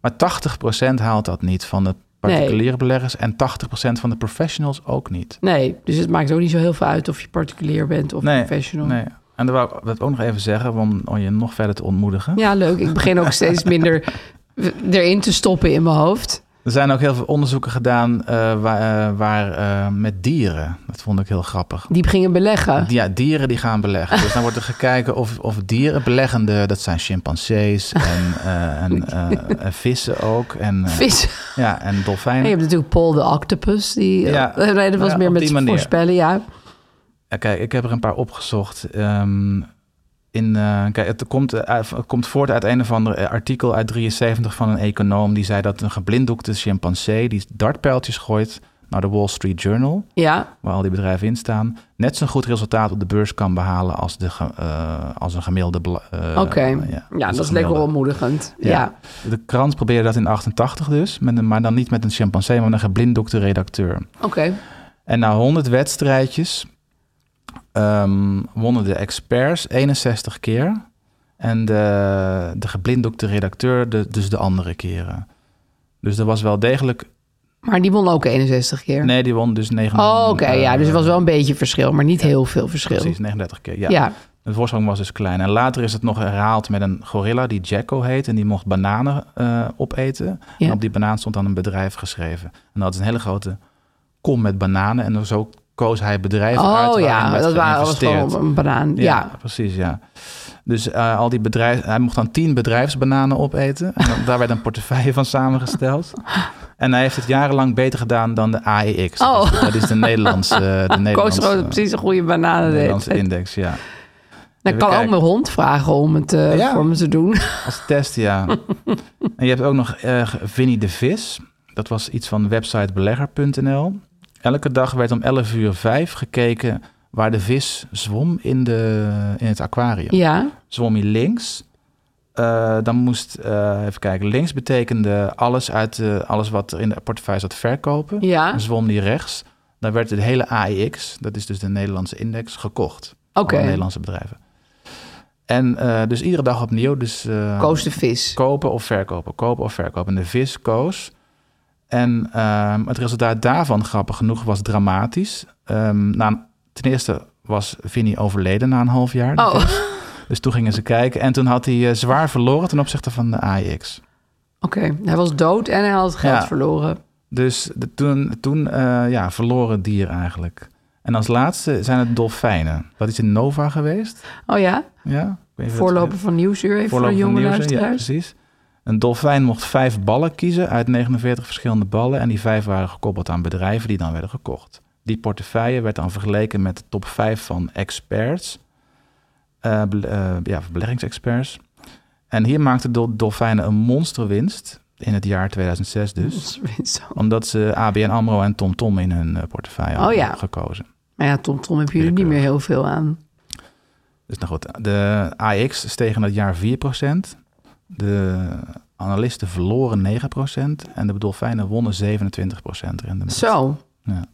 S3: Maar 80% haalt dat niet van de particuliere beleggers en 80% van de professionals ook niet.
S2: Nee, dus het maakt ook niet zo heel veel uit of je particulier bent of professional.
S3: Nee. En dat wou ik dat ook nog even zeggen om, om je nog verder te ontmoedigen.
S2: Ja, leuk. Ik begin ook steeds minder erin te stoppen in mijn hoofd.
S3: Er zijn ook heel veel onderzoeken gedaan eh, waar, eh, waar, eh, met dieren. Dat vond ik heel grappig.
S2: Die gingen beleggen.
S3: Ja, dieren die gaan beleggen. Dus dan wordt er gekeken of, of dieren beleggende, dat zijn chimpansees en, eh, en eh, en vissen ook. En, eh,
S2: Vis.
S3: ja, en dolfijnen.
S2: En je hebt natuurlijk Paul de Octopus. Die,
S3: Ja.
S2: nee, dat was
S3: Ja,
S2: meer
S3: op
S2: met
S3: die manier.
S2: voorspellen, ja.
S3: Ja, Kijk, ik heb er een paar opgezocht. Ehm, in, eh, kijk, het, komt, eh, uit- het komt voort uit een of ander eh, artikel uit 73 van een econoom. Die zei dat een geblinddoekte chimpansee die dartpijltjes gooit naar de Wall Street Journal,
S2: Ja,
S3: waar al die bedrijven in staan, net zo'n goed resultaat op de beurs kan behalen als, de, ge- eh, als een gemiddelde. bela- eh,
S2: oké.
S3: als
S2: Ja,
S3: een
S2: dat is
S3: gemiddelde.
S2: lekker ontmoedigend. Ja.
S3: Ja. De krant probeerde dat in 88 dus, met een, maar dan niet met een chimpansee, maar met een geblinddoekte redacteur.
S2: Oké.
S3: En na 100 wedstrijdjes ehm, wonnen de experts 61 keer. En de, de geblinddoekte redacteur de, dus de andere keren. Dus er was wel degelijk...
S2: Maar die won ook 61 keer.
S3: Nee, die won dus 39
S2: Oh, oké. ja, dus er was wel een beetje verschil, maar niet heel veel verschil.
S3: Precies, 39 keer. Ja.
S2: Ja.
S3: De voorsprong was dus klein. En later is het nog herhaald met een gorilla die Jacko heet. En die mocht bananen eh, opeten.
S2: Ja.
S3: En op die banaan stond dan een bedrijf geschreven. En dat is een hele grote kom met bananen. En zo koos hij bedrijven uit
S2: Oh
S3: waarin
S2: ja,
S3: werd
S2: dat wa- was
S3: geïnvesteerd.
S2: gewoon een banaan. Ja.
S3: precies, ja. Dus eh, al die bedrijf, hij mocht dan tien bedrijfsbananen opeten. En dan- daar werd een portefeuille van samengesteld. En hij heeft het jarenlang beter gedaan dan de AEX. Dat is-
S2: Oh.
S3: Dat is de Nederlandse, de
S2: Koos
S3: Nederlandse,
S2: er ook precies een goede bananen.
S3: de
S2: de hele
S3: Nederlandse
S2: tijd.
S3: index, ja.
S2: Nou,
S3: Even
S2: ik kan ook
S3: kijken.
S2: mijn hond vragen om het eh,
S3: Ja.
S2: voor me te doen.
S3: Als test, ja. en je hebt ook nog eh Vinnie de Vis. Dat was iets van websitebelegger.nl. Elke dag werd om 11 uur 5 gekeken waar de vis zwom in, de, in het aquarium.
S2: ja.
S3: zwom hij links. Eh, dan moest, eh, even kijken, links betekende alles, uit de, alles wat er in de portefeuille zat verkopen.
S2: Ja.
S3: Dan zwom hij rechts. Dan werd de hele AEX, dat is dus de Nederlandse index, gekocht.
S2: Oké.
S3: Alle Nederlandse bedrijven. En eh, dus iedere dag opnieuw. Dus, eh,
S2: Koos de vis.
S3: Kopen of verkopen, kopen of verkopen. En de vis koos. En ehm, het resultaat daarvan, grappig genoeg, was dramatisch. Ehm, na een ten eerste was Vinnie overleden na een half jaar.
S2: Oh.
S3: Dus, dus toen gingen ze kijken. En toen had hij eh, zwaar verloren ten opzichte van de AX.
S2: Oké, hij was dood en hij had het geld
S3: Ja.
S2: verloren.
S3: Dus de- toen, toen eh, ja, verloren dier eigenlijk. En als laatste zijn het dolfijnen. Dat is in Nova geweest.
S2: Oh ja,
S3: Ja? Ik weet niet of dat-
S2: voorloper van Nieuwsuur even voor de
S3: Voorloper van
S2: jonge
S3: Nielsen, Ja,
S2: luisteraars.
S3: precies. Een dolfijn mocht vijf ballen kiezen uit 49 verschillende ballen. En die vijf waren gekoppeld aan bedrijven die dan werden gekocht. Die portefeuille werd dan vergeleken met de top vijf van experts. eh, bele- eh, ja, van beleggingsexperts. En hier maakten de dolfijnen een monsterwinst. In het jaar 2006 dus.
S2: Ons-
S3: Omdat ze ABN AMRO en TomTom in hun eh, portefeuille hadden
S2: Oh ja.
S3: gekozen.
S2: Maar ja, Tom Tom hebben jullie niet meer heel veel aan.
S3: Dus nou goed, de AX steeg in dat jaar 4%. De analisten verloren 9%. En de dolfijnen wonnen 27% rendement.
S2: Zo.
S3: Ja.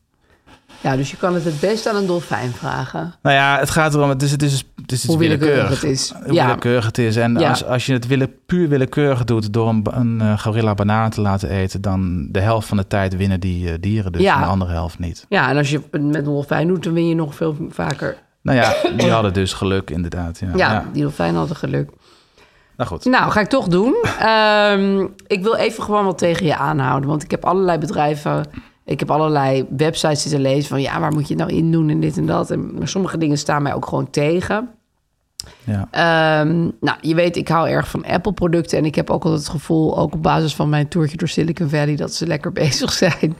S2: Ja, dus je kan het het best aan een dolfijn vragen.
S3: Nou ja, het gaat erom, het is, het is, het is iets
S2: Hoe willekeurig
S3: willekeurig.
S2: het is.
S3: Hoe
S2: Ja.
S3: willekeurig het is. En
S2: Ja.
S3: als, als je het wille, puur willekeurig doet door een, ba- een eh, gorilla bananen te laten eten... dan de helft van de tijd winnen die eh, dieren dus,
S2: Ja.
S3: en de andere helft niet.
S2: Ja, en als je het met een dolfijn doet, dan win je nog veel vaker.
S3: Nou ja, die hadden dus geluk inderdaad. Ja,
S2: Ja,
S3: ja.
S2: die dolfijn hadden geluk.
S3: Nou goed.
S2: Nou, ga ik toch doen. Ehm, ik wil even gewoon wat tegen je aanhouden. Want ik heb allerlei bedrijven... Ik heb allerlei websites zitten lezen van... ja, waar moet je het nou in doen en dit en dat. En, maar sommige dingen staan mij ook gewoon tegen.
S3: Ja.
S2: Ehm, nou, je weet, ik hou erg van Apple-producten. En ik heb ook altijd het gevoel, ook op basis van mijn toertje door Silicon Valley, dat ze lekker bezig zijn.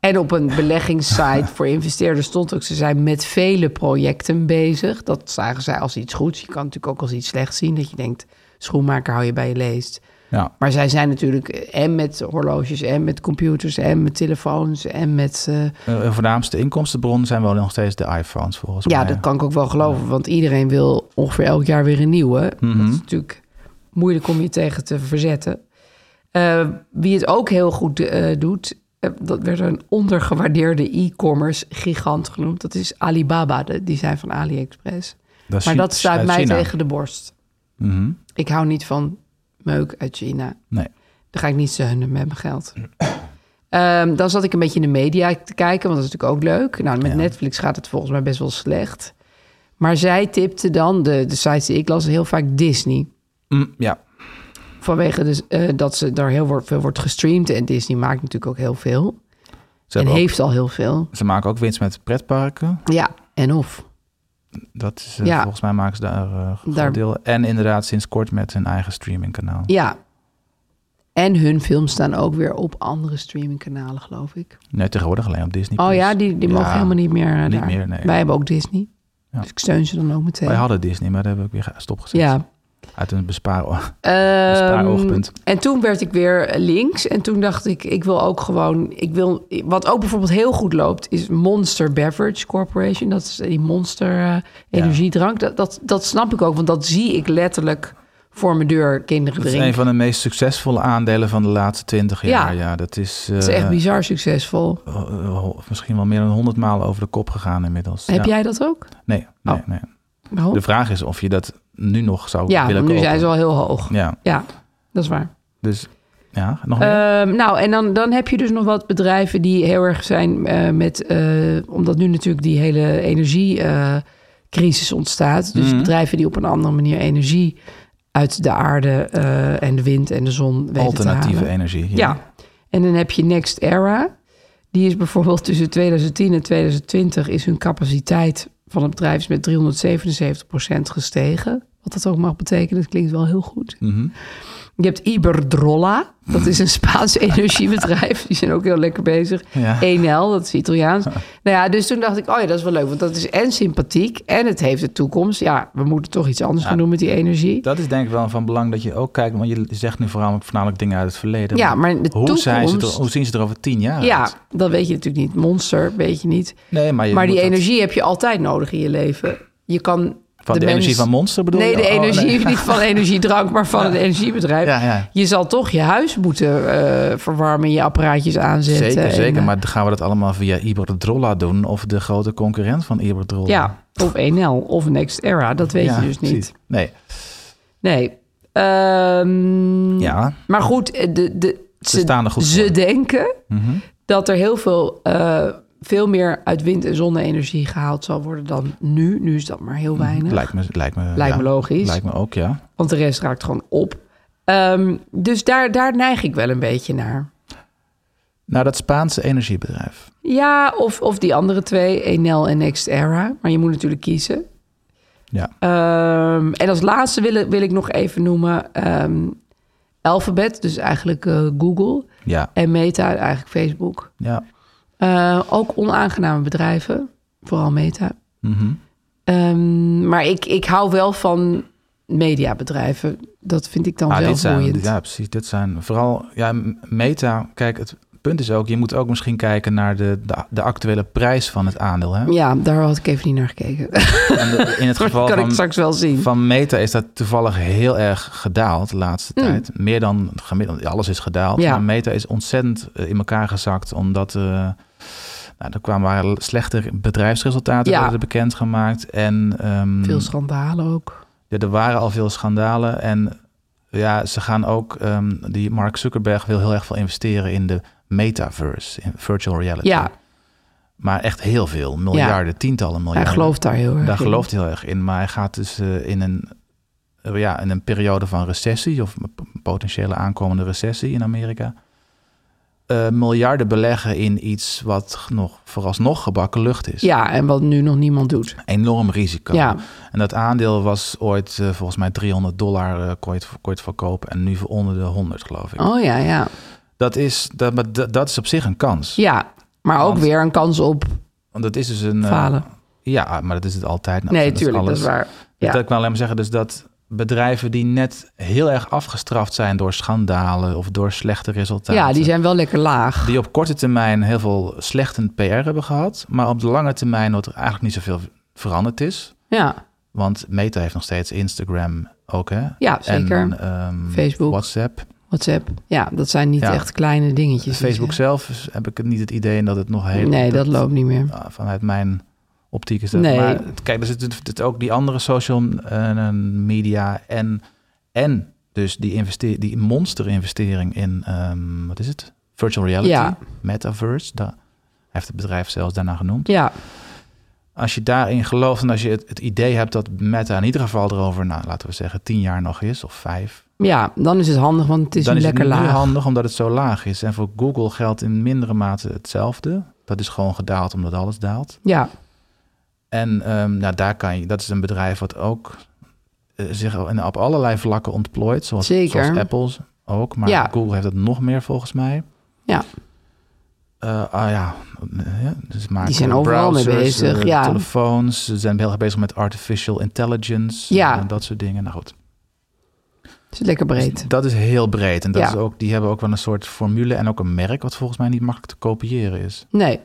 S2: En op een beleggingssite voor investeerders stond ook, ze zijn met vele projecten bezig. Dat zagen zij als iets goeds. Je kan natuurlijk ook als iets slechts zien, dat je denkt, schoenmaker hou je bij je leest.
S3: ja.
S2: Maar zij zijn natuurlijk eh, en met horloges, en met computers, en met telefoons, en met... eh,
S3: Eh, voornaamste inkomstenbron zijn wel nog steeds de iPhones volgens
S2: Ja,
S3: mij.
S2: dat kan ik ook wel geloven. Want iedereen wil ongeveer elk jaar weer een nieuwe.
S3: Mhm.
S2: Dat is natuurlijk moeilijk om je tegen te verzetten. Eh, wie het ook heel goed eh, doet, eh, dat werd een ondergewaardeerde e-commerce gigant genoemd. Dat is Alibaba, de- die zijn van AliExpress.
S3: Dat is
S2: maar
S3: Chi-
S2: dat staat
S3: uit
S2: mij
S3: China.
S2: tegen de borst.
S3: Mhm.
S2: Ik hou niet van meuk uit China.
S3: Nee.
S2: Dan ga ik niet zeunen met mijn geld. Ehm, dan zat ik een beetje in de media te kijken, want dat is natuurlijk ook leuk. Nou, met Netflix gaat het volgens mij best wel slecht. Maar zij tipte dan, de, de sites die ik las, heel vaak Disney.
S3: Mm, ja.
S2: Vanwege dus, eh, dat ze daar heel wo- veel wordt gestreamd. En Disney maakt natuurlijk ook heel veel.
S3: Ze,
S2: en
S3: hebben ook-
S2: heeft al heel veel.
S3: ze maken ook winst met pretparken.
S2: Ja, en of.
S3: Dat is, eh,
S2: Ja.
S3: Volgens mij maken ze daar eh een
S2: Daar-
S3: groot deel. En inderdaad sinds kort met hun eigen streamingkanaal.
S2: Ja. En hun films staan ook weer op andere streamingkanalen, geloof ik.
S3: Nee, tegenwoordig alleen op Disney+.
S2: Oh ja, die, die mogen
S3: Ja.
S2: helemaal niet meer eh,
S3: Niet
S2: daar.
S3: meer, nee.
S2: Wij hebben ook Disney. Dus ik steun ze dan ook meteen.
S3: Wij hadden Disney, maar daar heb ik weer ge- stopgezet.
S2: ja.
S3: Uit een bespaar...
S2: Ehm,
S3: spaaroogpunt.
S2: en toen werd ik weer links. En toen dacht ik, ik wil ook gewoon... Ik wil, wat ook bijvoorbeeld heel goed loopt, is Monster Beverage Corporation. Dat is die monster eh, energiedrank. Dat, dat, dat snap ik ook, want dat zie ik letterlijk voor mijn deur kinderen
S3: dat is
S2: drinken.
S3: een van de meest succesvolle aandelen van de laatste twintig
S2: Ja.
S3: jaar. Ja, dat is,
S2: Dat is
S3: eh,
S2: echt bizar succesvol.
S3: ho- ho- misschien wel meer dan honderd maal over de kop gegaan inmiddels.
S2: Heb
S3: Ja.
S2: jij dat ook?
S3: Nee, nee,
S2: Oh.
S3: nee.
S2: Waarom?
S3: De vraag is of je dat nu nog zou
S2: Ja,
S3: willen
S2: want nu
S3: kopen.
S2: zijn ze al heel hoog.
S3: Ja,
S2: Ja, dat is waar.
S3: dus... Ja, nog meer?
S2: Ehm, nou, en dan, dan heb je dus nog wat bedrijven die heel erg zijn eh, met... eh, omdat nu natuurlijk die hele energiecrisis ontstaat.
S3: Mhm.
S2: Dus bedrijven die op een andere manier energie uit de aarde eh, en de wind en de zon weten te
S3: Alternatieve
S2: halen.
S3: energie. ja.
S2: Ja. En dan heb je Next Era. Die is bijvoorbeeld tussen 2010 en 2020 is hun capaciteit van het bedrijf is met 377 gestegen. Wat dat ook mag betekenen, dat klinkt wel heel goed. Je hebt Iberdrola, dat is een Spaans energiebedrijf. Die zijn ook heel lekker bezig.
S3: Ja.
S2: Enel, dat is Italiaans. Nou ja, dus toen dacht ik, oh ja, dat is wel leuk. Want dat is en sympathiek en het heeft de toekomst. Ja, we moeten toch iets anders gaan doen met die energie.
S3: Dat is denk ik wel van belang dat je ook kijkt, want je zegt nu vooral, voornamelijk dingen uit het verleden.
S2: Ja, maar de
S3: hoe, zijn ze er,
S2: toekomst-
S3: hoe zien ze er over tien jaar
S2: Ja,
S3: uit?
S2: dat weet je natuurlijk niet. Monster, weet je niet.
S3: Nee, maar, Ah, je
S2: maar
S3: moet
S2: die
S3: dat-
S2: energie heb je altijd nodig in je leven. Je kan
S3: Van de,
S2: mens-
S3: energie van Monster bedoel
S2: Nee,
S3: je?
S2: de
S3: Oh,
S2: energie
S3: nee.
S2: niet van energiedrank, maar van een energiebedrijf.
S3: Ja, ja.
S2: Je zal toch je huis moeten eh, verwarmen, je apparaatjes aanzetten.
S3: Zeker,
S2: en,
S3: zeker.
S2: eh,
S3: Maar gaan we dat allemaal via Iberdrola doen of de grote concurrent van Iberdrola?
S2: Ja, of NL of Next Era, dat weet
S3: Ja,
S2: je dus niet.
S3: precies. Nee,
S2: Nee. Ehm,
S3: ja.
S2: Maar goed, de, de, ze,
S3: staan er goed
S2: ze
S3: voor. Mhm.
S2: denken dat er heel veel eh, veel meer uit wind- en zonne-energie gehaald zal worden dan nu. Nu is dat maar heel weinig.
S3: Lijkt me, lijkt me,
S2: Lijkt
S3: ja.
S2: me logisch.
S3: Lijkt me ook, ja.
S2: Want de rest raakt gewoon op. Ehm, dus daar, daar neig ik wel een beetje naar.
S3: Nou, dat Spaanse energiebedrijf.
S2: Ja, of, of die andere twee, Enel en Next Era. Maar je moet natuurlijk kiezen.
S3: Ja.
S2: Ehm, en als laatste wil, ik- wil ik nog even noemen ehm Alphabet, dus eigenlijk eh, Google.
S3: Ja.
S2: En Meta, eigenlijk Facebook.
S3: Ja.
S2: Eh, ook onaangename bedrijven, vooral Meta.
S3: Mhm.
S2: Ehm, maar ik, ik hou wel van mediabedrijven. Dat vind ik dan
S3: Ah,
S2: wel
S3: dit zijn,
S2: boeiend.
S3: ja, precies. Dit zijn vooral ja, m- meta. Kijk, het punt is ook, je moet ook misschien kijken naar de, de, de actuele prijs van het aandeel. Hè?
S2: Ja, daar had ik even niet naar gekeken.
S3: En de- in het
S2: Dat
S3: geval
S2: kan ik
S3: van,
S2: straks wel zien.
S3: van meta is dat toevallig heel erg gedaald de laatste tijd. Meer dan gemiddeld. Alles is gedaald.
S2: Hmm. Ja.
S3: Maar meta is ontzettend eh, in elkaar gezakt, omdat... eh, nou, er kwamen waren slechte bedrijfsresultaten
S2: Ja.
S3: werden bekendgemaakt. En, ehm,
S2: Veel schandalen ook.
S3: Ja, er waren al veel schandalen. En ja, ze gaan ook, ehm, die Mark Zuckerberg wil heel erg veel investeren in de metaverse, in virtual reality.
S2: Ja,
S3: Maar echt heel veel, miljarden, tientallen
S2: hij
S3: miljarden.
S2: gelooft daar heel erg
S3: Daar
S2: in.
S3: gelooft hij heel erg in. Maar hij gaat dus eh, in, een, eh, ja, in een periode van recessie, of een p- potentiële aankomende recessie in Amerika, eh, miljarden beleggen in iets wat nog vooralsnog gebakken lucht is.
S2: Ja, en wat nu nog niemand doet.
S3: Enorm risico.
S2: Ja.
S3: En dat aandeel was ooit eh, volgens mij 300 dollar eh kon, je het, kon je het verkopen en nu voor onder de 100 geloof ik.
S2: Oh ja, ja.
S3: Dat, is, dat, maar dat, dat is op zich een kans.
S2: Ja, maar ook
S3: Want-
S2: weer een kans op
S3: Want dat is dus een... eh,
S2: falen.
S3: ja, maar dat is het altijd. Nou,
S2: nee,
S3: is
S2: tuurlijk, dat
S3: alles.
S2: is waar. Ja.
S3: Dat ik wel alleen maar zeggen dus dat bedrijven die net heel erg afgestraft zijn door schandalen of door slechte resultaten.
S2: ja, die zijn wel lekker laag.
S3: Die op korte termijn heel veel slechtend PR hebben gehad, maar op de lange termijn dat er eigenlijk niet zoveel veranderd is.
S2: Ja,
S3: Want Meta heeft nog steeds Instagram ook, hè?
S2: Ja, zeker.
S3: En, ehm,
S2: Facebook.
S3: WhatsApp.
S2: WhatsApp. Ja, dat zijn niet
S3: Ja.
S2: echt kleine dingetjes. die
S3: Facebook
S2: ze-
S3: zelf is- heb ik niet het idee dat het nog heel...
S2: Nee, dat loopt niet meer.
S3: ah, Vanuit mijn optiek is dat.
S2: Nee.
S3: Maar het- kijk, er zitten zit ook die andere social eh, media en, en dus die, investe- die monster-investering in, ehm, wat is het? Virtual reality,
S2: Ja.
S3: metaverse. Da- hij heeft het bedrijf zelfs daarna genoemd.
S2: Ja,
S3: Als je daarin gelooft en als je het, het idee hebt dat Meta in ieder geval erover, nou, laten we zeggen, tien jaar nog is of vijf,
S2: ja, dan is het handig, want het is
S3: dan
S2: nu
S3: is
S2: lekker
S3: het nu
S2: laag.
S3: handig omdat het zo laag is. En voor Google geldt in mindere mate hetzelfde. Dat is gewoon gedaald omdat alles daalt.
S2: Ja,
S3: En ehm, nou, daar kan je, dat is een bedrijf wat ook eh, zich in- op allerlei vlakken ontplooit. Zoals,
S2: Zeker.
S3: zoals Apple's ook. Maar
S2: Ja.
S3: Google heeft het nog meer volgens mij.
S2: ja,
S3: Eh, ah ja, eh, dus maken
S2: Die zijn overal mee
S3: browsers,
S2: bezig,
S3: eh,
S2: ja.
S3: Telefoons, ze zijn heel erg bezig met artificial intelligence
S2: Ja.
S3: en dat soort dingen. Nou goed,
S2: het is lekker breed.
S3: Dus dat is heel breed. En dat
S2: Ja.
S3: is ook, die hebben ook wel een soort formule en ook een merk... wat volgens mij niet makkelijk te kopiëren is.
S2: Nee,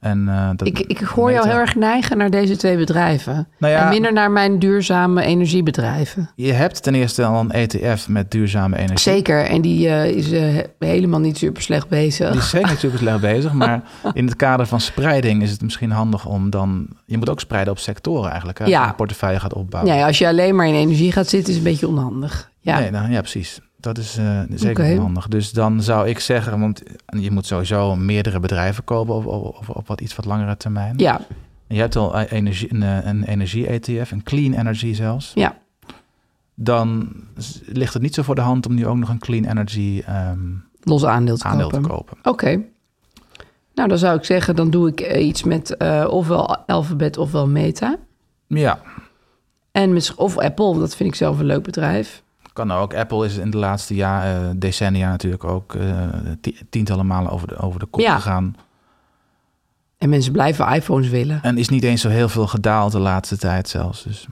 S3: En, eh, dat
S2: ik, ik hoor jou
S3: Meta-
S2: heel erg neigen naar deze twee bedrijven.
S3: Nou ja,
S2: En minder naar mijn duurzame energiebedrijven.
S3: Je hebt ten eerste al een ETF met duurzame energie.
S2: Zeker, en die eh, is eh, helemaal niet super slecht bezig.
S3: Die is zeker natuurlijk slecht bezig, maar in het kader van spreiding is het misschien handig om dan... Je moet ook spreiden op sectoren eigenlijk, hè, als
S2: Ja.
S3: je een portefeuille gaat opbouwen.
S2: Nee, als je alleen maar in energie gaat zitten, is het een beetje onhandig. Ja,
S3: Nee, nou, ja precies. Dat is eh, zeker
S2: Oké.
S3: handig. Dus dan zou ik zeggen, want je moet sowieso meerdere bedrijven kopen op, op, op, op wat, iets wat langere termijn.
S2: ja,
S3: Je hebt al eh, energie, een, eh, een energie-ETF, een clean energy zelfs.
S2: ja.
S3: Dan s- ligt het niet zo voor de hand om nu ook nog een clean energy ehm,
S2: los aandeel te
S3: aandeel
S2: kopen.
S3: te kopen.
S2: Oké. Nou, dan zou ik zeggen, dan doe ik eh, iets met eh, ofwel Alphabet ofwel Meta.
S3: Ja,
S2: En met, of Apple, dat vind ik zelf een leuk bedrijf.
S3: kan ook. Apple is in de laatste jaar, eh, decennia natuurlijk ook eh, ti- tientallen malen over de, over de kop
S2: Ja.
S3: gegaan.
S2: En mensen blijven iPhones willen.
S3: En is niet eens zo heel veel gedaald de laatste tijd zelfs. Dus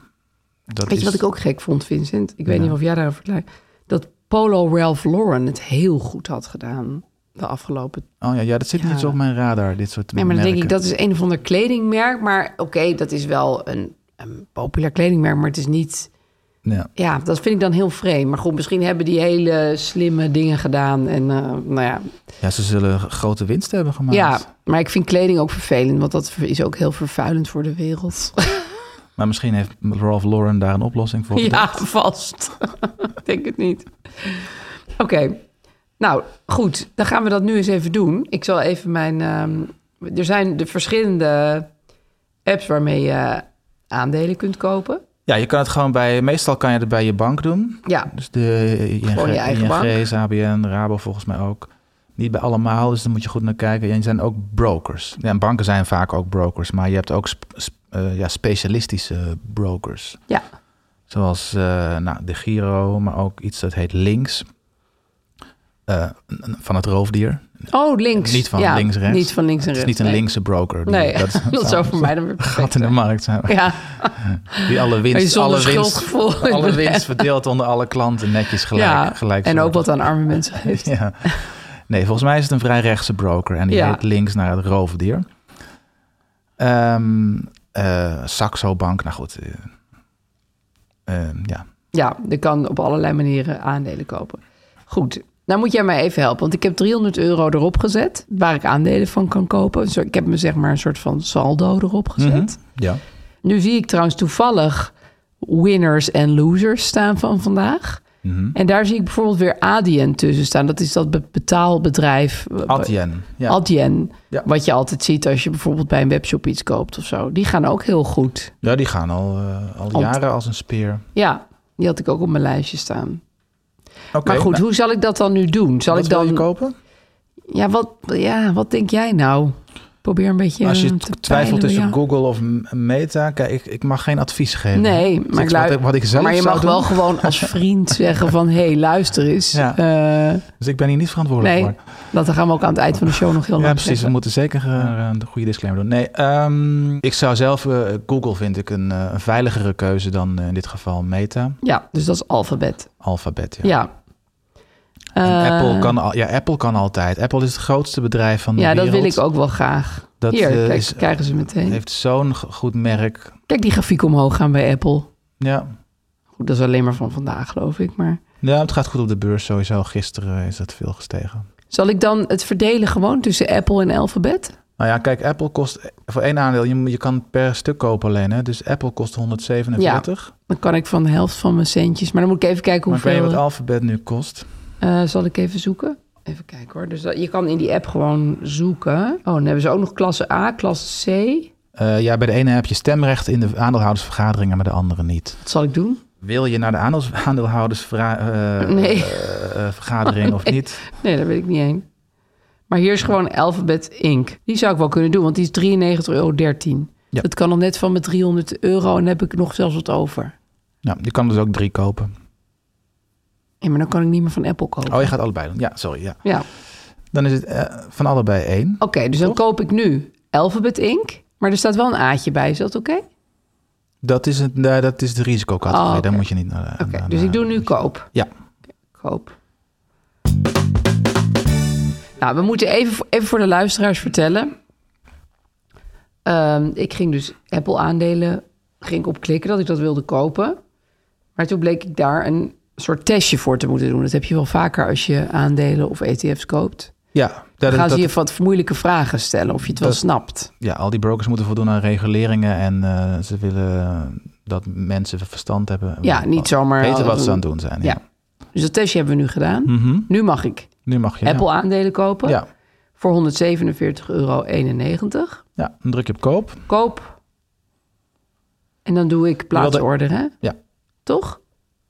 S3: dat
S2: Weet je
S3: is-
S2: wat ik ook gek vond, Vincent? Ik weet niet of jij daarover klaar... Dat Polo Ralph Lauren het heel goed had gedaan de afgelopen...
S3: Oh ja, ja dat zit
S2: Ja.
S3: niet zo op mijn radar, dit soort
S2: Nee, maar dan
S3: merken.
S2: denk ik, dat is een of ander kledingmerk. Maar oké, dat is wel een, een populair kledingmerk, maar het is niet...
S3: Ja.
S2: Ja, dat vind ik dan heel vreemd. Maar goed, misschien hebben die hele slimme dingen gedaan. En eh, nou ja.
S3: ja, ze zullen grote winst hebben gemaakt.
S2: ja, maar ik vind kleding ook vervelend, want dat is ook heel vervuilend voor de wereld.
S3: Maar misschien heeft Ralph Lauren daar een oplossing voor.
S2: ja, vast. ik denk het niet. Oké, nou goed, dan gaan we dat nu eens even doen. Ik zal even mijn ehm, er zijn de verschillende apps waarmee je aandelen kunt kopen.
S3: Ja, je kan het gewoon bij... Meestal kan je het bij je bank doen.
S2: Ja,
S3: Dus de ING,
S2: Gewoon je eigen
S3: ING's, ABN, Rabo volgens mij ook. Niet bij allemaal, dus daar moet je goed naar kijken. En er zijn ook brokers. Ja, en banken zijn vaak ook brokers, maar je hebt ook sp- sp- eh, ja, specialistische brokers.
S2: ja.
S3: Zoals eh, nou, de Giro, maar ook iets dat heet Links. Eh, van het roofdier.
S2: Oh, links.
S3: Niet van
S2: Ja,
S3: links-rechts.
S2: Niet van links en
S3: Het is
S2: rechts.
S3: niet een
S2: nee.
S3: linkse broker. die-
S2: Nee, dat, zou voor mij dan weer
S3: een
S2: perfect
S3: gat in de
S2: zijn.
S3: markt zijn.
S2: Ja,
S3: Die alle
S2: Weet je,
S3: winst,
S2: zonder
S3: alle winst,
S2: schuldgevoel.
S3: alle winst verdeelt onder alle klanten netjes gelijk.
S2: ja.
S3: gelijk
S2: en ook
S3: zorgt.
S2: wat aan arme mensen heeft.
S3: Ja. Nee, volgens mij is het een vrij rechtse broker en die
S2: Ja.
S3: heet links naar het roofdier. Ehm eh, Saxo Bank, nou goed. eh, ehm, ja.
S2: Ja, je kan op allerlei manieren aandelen kopen. Goed, nou moet jij mij even helpen. Want ik heb 300 euro erop gezet, waar ik aandelen van kan kopen. Zo, Ik heb me zeg maar een soort van saldo erop gezet.
S3: Mhm. ja.
S2: Nu zie ik trouwens toevallig winners en losers staan van vandaag.
S3: Mhm.
S2: En daar zie ik bijvoorbeeld weer Adyen tussen staan. Dat is dat be- betaalbedrijf.
S3: Adyen. Ja.
S2: Adyen,
S3: Ja.
S2: wat je altijd ziet als je bijvoorbeeld bij een webshop iets koopt of zo. Die gaan ook heel goed.
S3: ja, die gaan al, eh, al jaren als een speer.
S2: Ja, die had ik ook op mijn lijstje staan.
S3: Oké,
S2: maar goed,
S3: nou,
S2: hoe zal ik dat dan nu doen? Zal
S3: wat
S2: ik
S3: wil
S2: dan
S3: je kopen?
S2: Ja, wat, ja, wat denk jij nou? Probeer een beetje.
S3: Als je
S2: te
S3: twijfelt
S2: peilen,
S3: tussen
S2: ja.
S3: Google of M- Meta, kijk, ik, ik mag geen advies geven.
S2: Nee,
S3: Dus
S2: maar,
S3: ik-
S2: ik lu-
S3: wat, ik, wat ik zelf
S2: maar je
S3: zou
S2: mag wel
S3: doen,
S2: gewoon als vriend zeggen van... hé, hey, luister eens.
S3: Ja.
S2: Eh,
S3: Dus ik ben hier niet verantwoordelijk
S2: nee,
S3: voor.
S2: dat gaan we ook aan het eind van de show nog heel
S3: Ja,
S2: lang
S3: precies. We
S2: zeggen.
S3: moeten zeker eh, een goede disclaimer doen. Nee, ehm, ik zou zelf... eh, Google vind ik een eh, een veiligere keuze dan eh, in dit geval Meta.
S2: Ja, dus dat is alfabet.
S3: Alphabet, ja.
S2: Ja.
S3: En
S2: Eh,
S3: Apple, kan al, ja, Apple kan altijd. Apple is het grootste bedrijf van de
S2: Ja, dat
S3: wereld.
S2: wil ik ook wel graag.
S3: Dat,
S2: Hier,
S3: eh,
S2: kijk,
S3: is-
S2: krijgen ze meteen.
S3: Heeft zo'n g- goed merk.
S2: Kijk die grafiek omhoog gaan bij Apple.
S3: Ja.
S2: Goed, dat is alleen maar van vandaag, geloof ik. Maar
S3: ja, het gaat goed op de beurs sowieso. Gisteren is dat veel gestegen.
S2: zal ik dan het verdelen gewoon tussen Apple en alfabet?
S3: Nou ja, kijk, Apple kost voor één aandeel. Je, moet- je kan per stuk kopen alleen. Hè? Dus Apple kost 147.
S2: Dan kan ik van de helft van mijn centjes. Maar dan moet ik even kijken
S3: maar ik
S2: hoeveel...
S3: weet niet wat Alphabet nu kost.
S2: Eh, zal ik even zoeken? Even kijken hoor. Dus dat- je kan in die app gewoon zoeken. Oh, dan hebben ze ook nog klasse A, klasse C.
S3: Eh, ja, bij de ene heb je stemrecht in de aandeelhoudersvergadering en bij de andere niet.
S2: Wat zal ik doen?
S3: Wil je naar de aandeel- aandeelhoudersvergadering
S2: Nee.
S3: eh, vergadering of niet?
S2: Nee, daar weet ik niet heen. Maar hier is gewoon Alphabet Inc. Die zou ik wel kunnen doen, want die is 93,13 euro.
S3: Ja.
S2: Dat kan dan net van mijn 300 euro en dan heb ik nog zelfs wat over.
S3: Nou, je kan dus ook drie kopen.
S2: Ja, maar dan kan ik niet meer van Apple kopen.
S3: Oh, je gaat allebei doen. Ja, sorry. Ja.
S2: Ja, oké.
S3: Dan is het eh, van allebei één.
S2: dus dan koop ik nu Alphabet Inc. Maar er staat wel een A'tje bij, is dat oké?
S3: Dat is, het, nee, dat is de risicocategorie.
S2: Oh, oké.
S3: Daar moet je niet naar.
S2: Oké, dus
S3: nou,
S2: ik doe nu koop.
S3: Ja,
S2: koop. Nou, we moeten even, even voor de luisteraars vertellen. Ehm, ik ging dus Apple aandelen ging ik op klikken dat ik dat wilde kopen. Maar toen bleek ik daar een soort testje voor te moeten doen. Dat heb je wel vaker als je aandelen of ETF's koopt.
S3: ja,
S2: Dan
S3: dat,
S2: gaan ze
S3: dat-
S2: je wat moeilijke vragen stellen of je het wel
S3: Dat-
S2: snapt.
S3: ja, al die brokers moeten voldoen aan reguleringen. En eh, ze willen dat mensen verstand hebben.
S2: Ja, niet zomaar-
S3: Weten wat ze aan het doen zijn. Ja.
S2: Ja. Dus dat testje hebben we nu gedaan. Nu mag ik
S3: Nu mag je.
S2: Apple aandelen kopen
S3: Ja. ja.
S2: voor 147,91 euro.
S3: Ja, dan druk je op koop.
S2: koop. En dan doe ik plaatsorder, hè?
S3: Ja.
S2: Toch?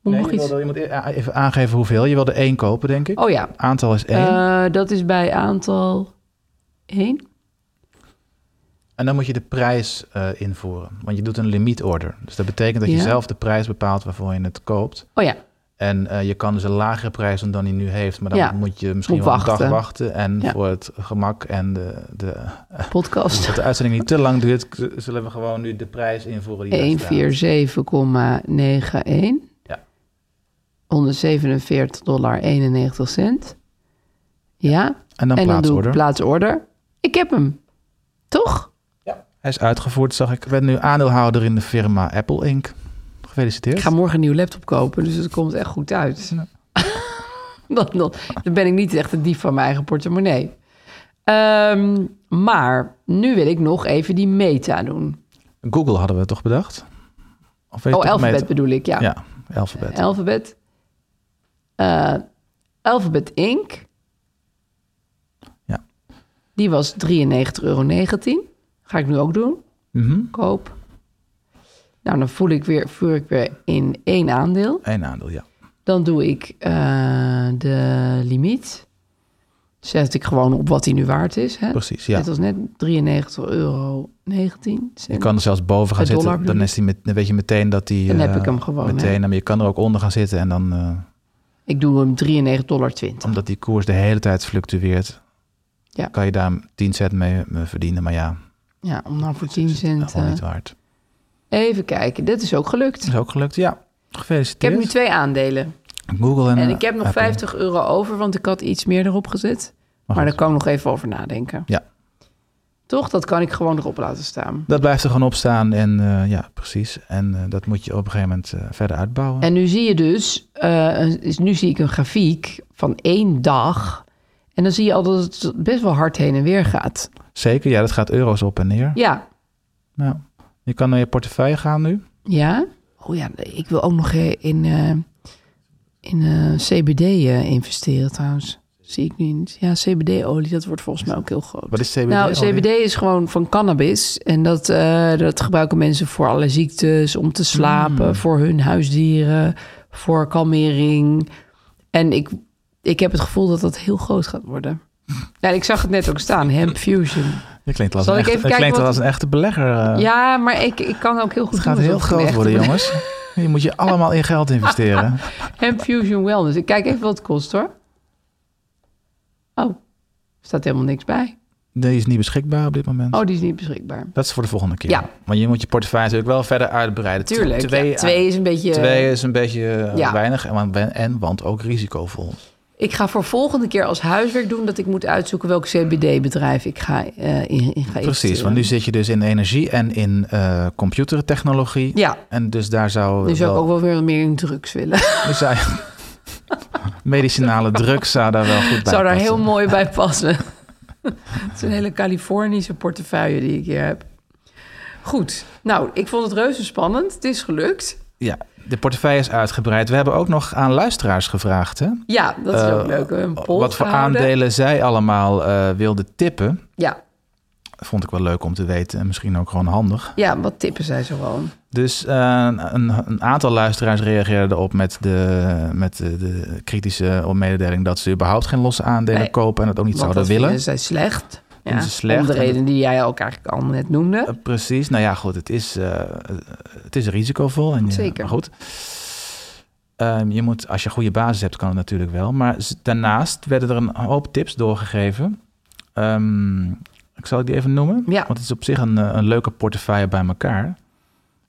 S2: Hoe
S3: Nee,
S2: nog
S3: je
S2: iets?
S3: wilde- je moet e- even aangeven hoeveel. Je wilde één kopen, denk ik.
S2: Oh ja,
S3: Aantal is één.
S2: Eh, dat is bij aantal 1.
S3: En dan moet je de prijs eh, invoeren. Want je doet een limietorder. Dus dat betekent dat je
S2: Ja.
S3: zelf de prijs bepaalt waarvoor je het koopt.
S2: Oh ja,
S3: En eh, je kan dus een lagere prijs doen dan die nu heeft. Maar dan
S2: Ja.
S3: moet je misschien
S2: Moet
S3: wel een
S2: wachten.
S3: dag wachten. En
S2: Ja.
S3: voor het gemak en de, de,
S2: podcast
S3: dat de uitzending niet te lang duurt... k- zullen we gewoon nu de prijs invoeren die daar staat.
S2: 147,91.
S3: Ja.
S2: 147 dollar 91 cent. Ja.
S3: En dan
S2: en dan doe ik
S3: plaatsorder.
S2: plaatsorder. Ik heb hem. Toch?
S3: Hij is uitgevoerd, zag ik. Ik ben nu aandeelhouder in de firma Apple Inc. Gefeliciteerd.
S2: Ik ga morgen een nieuwe laptop kopen, dus het komt echt goed uit.
S3: Ja.
S2: dan, dan, dan ben ik niet echt een dief van mijn eigen portemonnee. Ehm, maar nu wil ik nog even die meta doen.
S3: Google hadden we toch bedacht? Of weet je
S2: oh,
S3: toch
S2: Alphabet
S3: meten?
S2: bedoel ik, ja.
S3: Ja, Alphabet.
S2: Alphabet. Eh, Alphabet Inc.
S3: Ja.
S2: Die was 93,19 euro. Ga ik nu ook doen.
S3: Mhm.
S2: Koop. Nou, dan voel ik weer, voer ik weer in één aandeel.
S3: Eén aandeel, ja.
S2: Dan doe ik eh, de limiet. Zet ik gewoon op wat die nu waard is. Hè?
S3: Precies, ja.
S2: Het was net 93,19 euro.
S3: Je kan er zelfs boven gaan
S2: Een dollar
S3: zitten. Dan,
S2: bedoel
S3: is die met, dan weet je meteen dat die...
S2: Dan heb
S3: eh,
S2: ik hem gewoon,
S3: Meteen, maar je kan er ook onder gaan zitten. En dan, eh,
S2: Ik doe hem 93,20 dollar.
S3: omdat die koers de hele tijd fluctueert...
S2: Ja.
S3: kan je daar 10 cent mee eh, verdienen. Maar ja,
S2: Ja, om dan voor 10
S3: dat
S2: cent.
S3: is gewoon
S2: eh,
S3: niet waard.
S2: even kijken, dit is ook gelukt.
S3: Dat is ook gelukt, ja.
S2: Ik heb
S3: Gefeliciteerd.
S2: nu twee aandelen.
S3: Google en, eh,
S2: En ik heb nog
S3: Apple.
S2: 50 euro over, want ik had iets meer erop gezet. Maar
S3: Maar goed.
S2: daar kan ik nog even over nadenken.
S3: Ja.
S2: Toch? Dat kan ik gewoon erop laten staan.
S3: Dat blijft er gewoon op staan. En eh, ja, precies. En eh, dat moet je op een gegeven moment eh, verder uitbouwen.
S2: En nu zie je dus, eh, een- is- nu zie ik een grafiek van één dag. En dan zie je al dat het best wel hard heen en weer gaat.
S3: Zeker, ja, dat gaat euro's op en neer.
S2: Ja.
S3: Nou, je kan naar je portefeuille gaan nu.
S2: Ja? Oh ja, ik wil ook nog eh, in, eh, in eh, CBD eh, investeren trouwens. Zie ik nu niet. Ja, CBD-olie, dat wordt volgens mij ook heel groot.
S3: Wat is CBD?
S2: Nou,
S3: alweer?
S2: CBD is gewoon van cannabis. En dat, eh, dat gebruiken mensen voor allerlei ziektes, om te slapen,
S3: Hmm.
S2: voor hun huisdieren, voor kalmering. En ik, ik heb het gevoel dat dat heel groot gaat worden. Ja, ik zag het net ook staan, hemp fusion.
S3: Je klinkt als,
S2: Zal
S3: een,
S2: ik
S3: echte,
S2: even kijken
S3: je klinkt
S2: wat-
S3: als een echte belegger. eh.
S2: Ja, maar ik, ik kan ook heel goed
S3: het gaat
S2: doen
S3: heel
S2: alsof ik een
S3: groot
S2: echte
S3: worden,
S2: ben.
S3: jongens. Je moet je allemaal in geld investeren.
S2: Hemp fusion wellness. Ik kijk even wat het kost hoor. Oh, er staat helemaal niks bij.
S3: Die is niet beschikbaar op dit moment.
S2: Oh, die is niet beschikbaar.
S3: Dat is voor de volgende keer.
S2: Ja.
S3: Maar je moet je portefeuille natuurlijk wel verder uitbreiden.
S2: Tuurlijk. ja. Twee,
S3: Twee,
S2: is een beetje...
S3: twee is een beetje eh,
S2: Ja.
S3: weinig. En, want- en want ook risicovol.
S2: Ik ga voor volgende keer als huiswerk doen dat ik moet uitzoeken welk CBD-bedrijf ik ga, eh, in, in ga
S3: Precies,
S2: investeren.
S3: want nu zit je dus in energie en in eh computertechnologie.
S2: Ja.
S3: En dus daar zou...
S2: Nu zou ik ook wel weer meer in drugs willen.
S3: nu zou je- medicinale drugs zou daar wel goed bij
S2: zou daar
S3: passen.
S2: heel mooi bij passen. Het is een hele Californische portefeuille die ik hier heb. Goed, nou, ik vond het reuze spannend. Het is gelukt.
S3: Ja, de portefeuille is uitgebreid. We hebben ook nog aan luisteraars gevraagd. Hè?
S2: Ja, dat is ook
S3: Eh,
S2: leuk. We hebben Een poll
S3: Wat voor
S2: gehouden.
S3: aandelen zij allemaal eh, wilden tippen.
S2: Ja,
S3: Vond ik wel leuk om te weten en misschien ook gewoon handig.
S2: ja, wat tippen zij zo gewoon?
S3: Dus eh, een, een aantal luisteraars reageerden op met de, met de, de kritische mededeling dat ze überhaupt geen losse aandelen
S2: Nee.
S3: kopen en dat ook niet
S2: Want
S3: zouden
S2: dat
S3: willen.
S2: vinden zij slecht. Ja,
S3: Vinden ze slecht.
S2: Om de
S3: En dat-
S2: reden die jij ook eigenlijk al net noemde.
S3: Eh, Precies. Nou ja, goed. Het is, eh, eh, het is risicovol. En, je-
S2: Zeker.
S3: Maar goed. Ehm, je moet, als je een goede basis hebt, kan het natuurlijk wel. Maar z- daarnaast werden er een hoop tips doorgegeven. Ehm, ik zal die even noemen.
S2: Ja.
S3: Want het is op zich een, eh, een leuke portefeuille bij elkaar.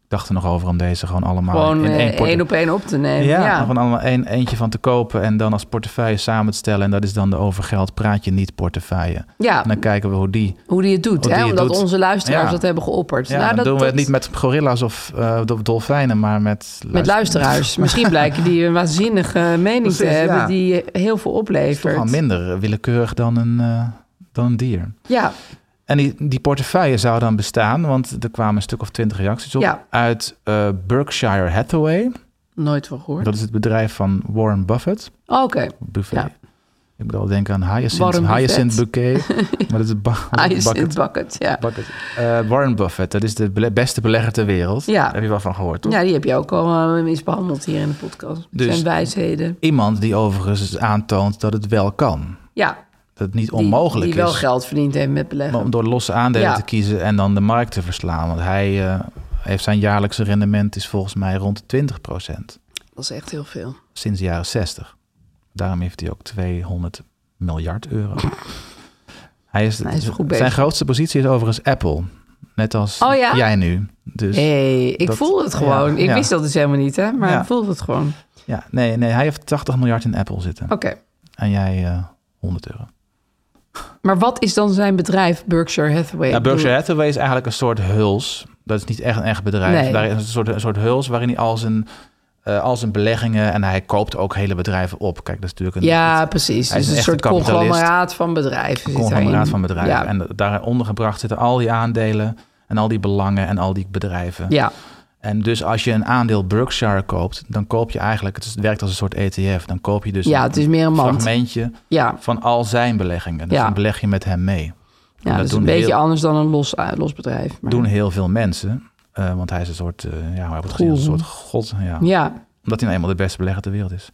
S3: Ik dacht er nog over om deze gewoon allemaal
S2: Gewoon
S3: in
S2: eh,
S3: één portefeuille...
S2: één op één op te nemen.
S3: Ja,
S2: ja.
S3: gewoon allemaal één, eentje van te kopen en dan als portefeuille samen te stellen. En dat is dan de over geld praat je niet portefeuille.
S2: Ja,
S3: En dan kijken we hoe die
S2: hoe die het doet.
S3: hoe
S2: hè?
S3: die het
S2: Omdat
S3: doet.
S2: onze luisteraars
S3: Ja.
S2: dat hebben geopperd.
S3: Ja,
S2: Nou,
S3: dan
S2: dat,
S3: doen we
S2: dat-
S3: het niet met gorilla's of eh, do- dolfijnen, maar met,
S2: met luisteraars. Misschien blijken die een waanzinnige mening te
S3: Precies,
S2: hebben
S3: ja.
S2: die heel veel
S3: Toch
S2: oplevert.
S3: wel minder willekeurig dan een, eh, dan een dier.
S2: ja,
S3: En die, die portefeuille zou dan bestaan, want er kwamen een stuk of twintig reacties op.
S2: Ja.
S3: Uit eh, Berkshire Hathaway.
S2: nooit van gehoord.
S3: Dat is het bedrijf van Warren Buffett.
S2: Oké,
S3: Buffet.
S2: Ja.
S3: Ik moet al denken aan hyacinth,
S2: Warren Buffett.
S3: hyacinth bouquet. maar dat is ba-
S2: Ice
S3: bucket.
S2: bucket, ja.
S3: bucket. Eh, Warren Buffett, dat is de bele- beste belegger ter wereld.
S2: Ja.
S3: Daar heb je wel van gehoord, toch?
S2: Ja, die heb je ook al eens behandeld hier in de podcast.
S3: Dus-
S2: Zijn wijsheden.
S3: Iemand die overigens aantoont dat het wel kan.
S2: Ja,
S3: Dat het niet
S2: die,
S3: onmogelijk
S2: die wel
S3: is.
S2: geld verdiend heeft met
S3: Maar
S2: beleggen.
S3: om door losse aandelen
S2: Ja.
S3: te kiezen en dan de markt te verslaan. Want hij eh, heeft zijn jaarlijkse rendement is volgens mij rond de 20
S2: Dat is echt heel veel.
S3: Sinds de jaren 60. Daarom heeft hij ook 200 miljard euro. hij is,
S2: Hij is goed bezig.
S3: zijn grootste positie is overigens Apple. Net als
S2: Oh ja?
S3: jij nu. Dus
S2: hey, ik
S3: dat-
S2: voel het gewoon.
S3: ja,
S2: ik
S3: ja.
S2: wist dat dus helemaal niet, hè? Maar
S3: Ja.
S2: ik voelde het gewoon. Oké,
S3: ja, nee, nee, hij heeft 80 miljard in Apple zitten.
S2: Oh.
S3: En jij eh, 100 euro.
S2: maar wat is dan zijn bedrijf Berkshire Hathaway?
S3: Ja,
S2: Ik bedoel-
S3: Berkshire Hathaway Nou, is eigenlijk een soort huls. Dat is niet echt een echt bedrijf.
S2: Nee.
S3: Daar is een soort, een soort huls waarin hij al zijn, eh, al zijn beleggingen... en hij koopt ook hele bedrijven op. Kijk, dat is natuurlijk een,
S2: Ja,
S3: het-
S2: precies.
S3: hij
S2: Dus
S3: is
S2: een,
S3: een
S2: soort
S3: echte kapitalist.
S2: conglomeraat van bedrijven.
S3: een
S2: zit
S3: conglomeraat
S2: daarin.
S3: van bedrijven.
S2: Ja.
S3: En daaronder gebracht zitten al die aandelen... en al die belangen en al die bedrijven.
S2: ja,
S3: En dus als je een aandeel Berkshire koopt... dan koop je eigenlijk... het is- het werkt als een soort ETF. Dan koop je dus
S2: Ja,
S3: een,
S2: het is meer een mand.
S3: fragmentje
S2: ja,
S3: van al zijn beleggingen. Dus
S2: Ja.
S3: dan beleg je met hem mee.
S2: Ja, dat, is
S3: doen
S2: een beetje
S3: heel-
S2: anders dan een los, eh, los bedrijf. maar-
S3: doen heel veel mensen. eh, want hij is een soort, eh, ja, hij wordt gezien als een
S2: Goeroe.
S3: soort god. Ja,
S2: Ja,
S3: Omdat hij nou eenmaal de beste belegger ter wereld is.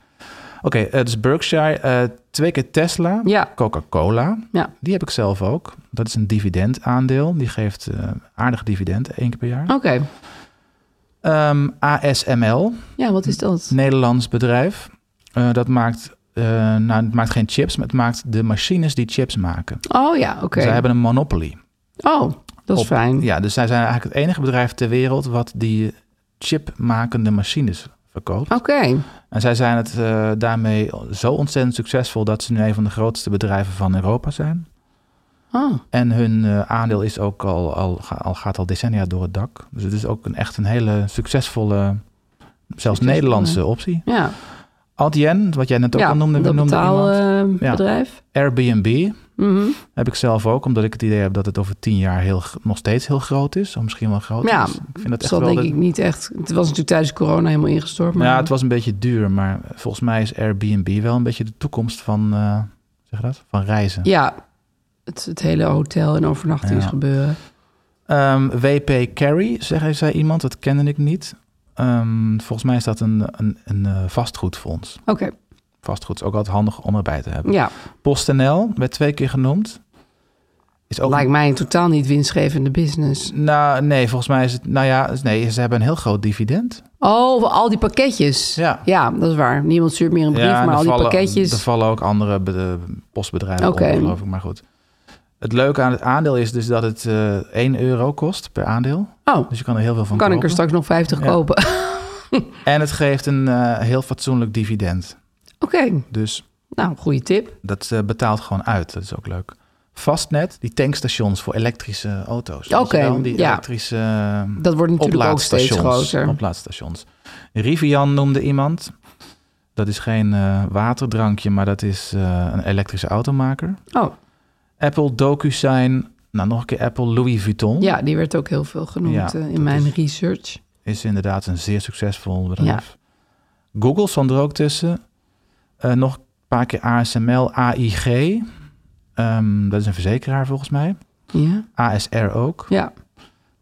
S3: Oké, eh, dus Berkshire, eh, twee keer Tesla,
S2: ja,
S3: Coca-Cola.
S2: ja.
S3: Die heb ik zelf ook. Dat is een dividendaandeel. Die geeft eh, aardig dividend, één keer per jaar.
S2: Oké.
S3: Ehm, ASML,
S2: Ja, wat is dat?
S3: Nederlands bedrijf. Eh, dat maakt, eh, nou, het maakt geen chips, maar het maakt de machines die chips maken.
S2: Oh ja, oké.
S3: Zij hebben een monopolie.
S2: Oh, dat is
S3: op-
S2: fijn.
S3: Ja, dus zij zijn eigenlijk het enige bedrijf ter wereld wat die chipmakende machines verkoopt.
S2: Oké.
S3: En zij zijn het eh, daarmee zo ontzettend succesvol dat ze nu een van de grootste bedrijven van Europa zijn.
S2: Oh,
S3: En hun eh, aandeel is ook al, al, ga- al gaat al decennia door het dak. Dus het is ook een, echt een hele succesvolle, zelfs Nederlandse optie.
S2: ja.
S3: Adyen, wat jij net ook
S2: ja,
S3: al noemde,
S2: dat
S3: noemde iemand. Ja.
S2: betaalbedrijf.
S3: Airbnb
S2: Mhm.
S3: heb ik zelf ook, omdat ik het idee heb dat het over tien jaar heel, g- nog steeds heel groot is. Of misschien wel groot
S2: Ja,
S3: is. Ik vind dat
S2: Dat
S3: echt
S2: zal
S3: wel
S2: denk
S3: de-
S2: ik niet echt... Het was natuurlijk tijdens corona helemaal ingestort. Maar
S3: Ja, het was een beetje duur, maar volgens mij is Airbnb wel een beetje de toekomst van, eh, zeg je dat? van reizen.
S2: Ja, het, het hele hotel en overnachtingsgebeuren.
S3: Ehm, WP Carry, zeg, zei iemand, dat kende ik niet. Ehm, volgens mij is dat een, een, een eh, vastgoedfonds.
S2: Oké,
S3: Vastgoed is ook altijd handig om erbij te hebben.
S2: ja.
S3: PostNL werd twee keer genoemd. Is ook
S2: Lijkt mij een totaal niet winstgevende business.
S3: Nou, nee, volgens mij is het. Nou ja, nee, ze hebben een heel groot dividend.
S2: Oh, al die pakketjes.
S3: Ja.
S2: dat is waar. Niemand stuurt meer een brief,
S3: ja, en
S2: maar
S3: er
S2: al die
S3: vallen- Er
S2: pakketjes.
S3: vallen ook andere be- postbedrijven
S2: Oké.
S3: onder, geloof ik. Maar goed. Het leuke aan het aandeel is dus dat het eh 1 euro kost per aandeel.
S2: Oh,
S3: Dus je kan er heel veel van
S2: kan ik
S3: kopen.
S2: er straks nog 50
S3: Ja.
S2: kopen? Oké,
S3: En het geeft een eh, heel fatsoenlijk dividend. Dus
S2: nou, goede tip.
S3: dat eh, betaalt gewoon uit. Dat is ook leuk. Fastnet, die tankstations voor elektrische auto's. Weet
S2: Oké,
S3: je wel? Die
S2: ja.
S3: elektrische eh,
S2: Dat wordt natuurlijk ook steeds
S3: oplaadstations.
S2: groter.
S3: Oplaadstations. Rivian noemde iemand. Dat is geen eh, waterdrankje, maar dat is eh, een elektrische automaker.
S2: Oh,
S3: Apple, DocuSign. Nou, nog een keer Apple. Louis Vuitton
S2: ja, die werd ook heel veel genoemd
S3: Ja,
S2: eh,
S3: dat
S2: in mijn
S3: is-
S2: research.
S3: is inderdaad een zeer succesvol bedrijf. Google stond er ook tussen. Eh, nog een paar keer ASML, AIG. Ehm, dat is een verzekeraar volgens mij.
S2: Ja,
S3: ASR ook.
S2: ja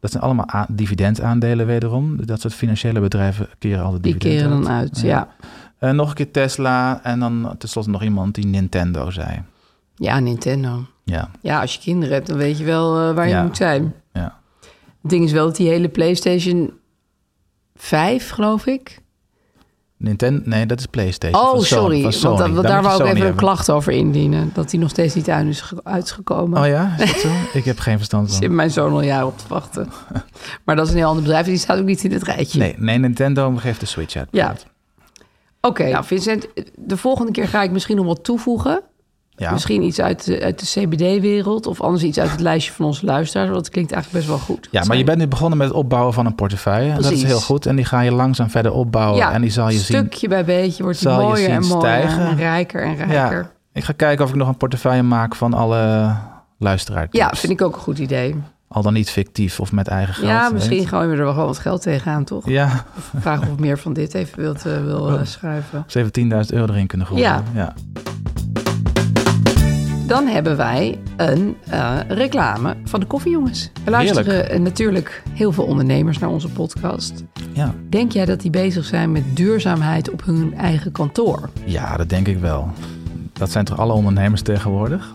S3: Dat zijn allemaal a- dividendaandelen wederom. Dat soort financiële bedrijven keren altijd
S2: die
S3: dividend
S2: keren
S3: uit.
S2: dan uit. Ja.
S3: Eh, nog een keer Tesla en dan tenslotte nog iemand die Nintendo zei.
S2: ja, Nintendo.
S3: Ja,
S2: Ja, als je kinderen hebt, dan weet je wel eh, waar je
S3: Ja.
S2: moet zijn.
S3: ja.
S2: Het ding is wel dat die hele PlayStation 5, geloof ik.
S3: Nintendo, nee, dat is PlayStation.
S2: oh,
S3: van Sony-
S2: sorry.
S3: van
S2: Want,
S3: Sony.
S2: da- want
S3: Dan
S2: daar
S3: moet je
S2: wou ik
S3: Sony
S2: even een
S3: hebben.
S2: klacht over indienen. Dat die nog steeds niet uit is ge- uitgekomen.
S3: Oh ja, is dat zo? ik heb geen verstand
S2: Zit
S3: van.
S2: mijn zoon al jaren op te wachten. maar dat is een heel ander bedrijf. Die staat ook niet in het rijtje.
S3: Nee, nee, Nintendo geeft de Switch uit.
S2: Ja. Oké, nou Vincent, de volgende keer ga ik misschien nog wat toevoegen.
S3: Ja.
S2: Misschien iets uit de, uit de CBD-wereld of anders iets uit het lijstje van onze luisteraars. Want dat klinkt eigenlijk best wel goed.
S3: Ja, maar je bent nu begonnen met het opbouwen van een portefeuille. En Dat is
S2: Precies.
S3: heel goed. En die ga je langzaam verder opbouwen.
S2: Ja,
S3: en die zal je
S2: stukje bij beetje wordt die
S3: zal je
S2: mooier
S3: zien
S2: en mooier
S3: stijgen.
S2: en rijker en
S3: zien.
S2: rijker.
S3: Ja, ik ga kijken of ik nog een portefeuille maak van alle luisteraars.
S2: Ja, vind ik ook een goed idee.
S3: Al dan niet fictief of met eigen geld.
S2: ja,
S3: weet.
S2: misschien gooien we er wel gewoon wat geld tegenaan, toch?
S3: Ja, Oh.
S2: Vraag of meer van dit even wilt, eh, wil eh, schuiven.
S3: ze hebben 10.000 euro erin kunnen gooien.
S2: Ja. Dan hebben wij een eh, reclame van de koffiejongens. We luisteren
S3: Heerlijk.
S2: eh, natuurlijk heel veel ondernemers naar onze podcast.
S3: Ja.
S2: Denk jij dat die bezig zijn met duurzaamheid op hun eigen kantoor?
S3: ja, dat denk ik wel. Dat zijn toch alle ondernemers tegenwoordig?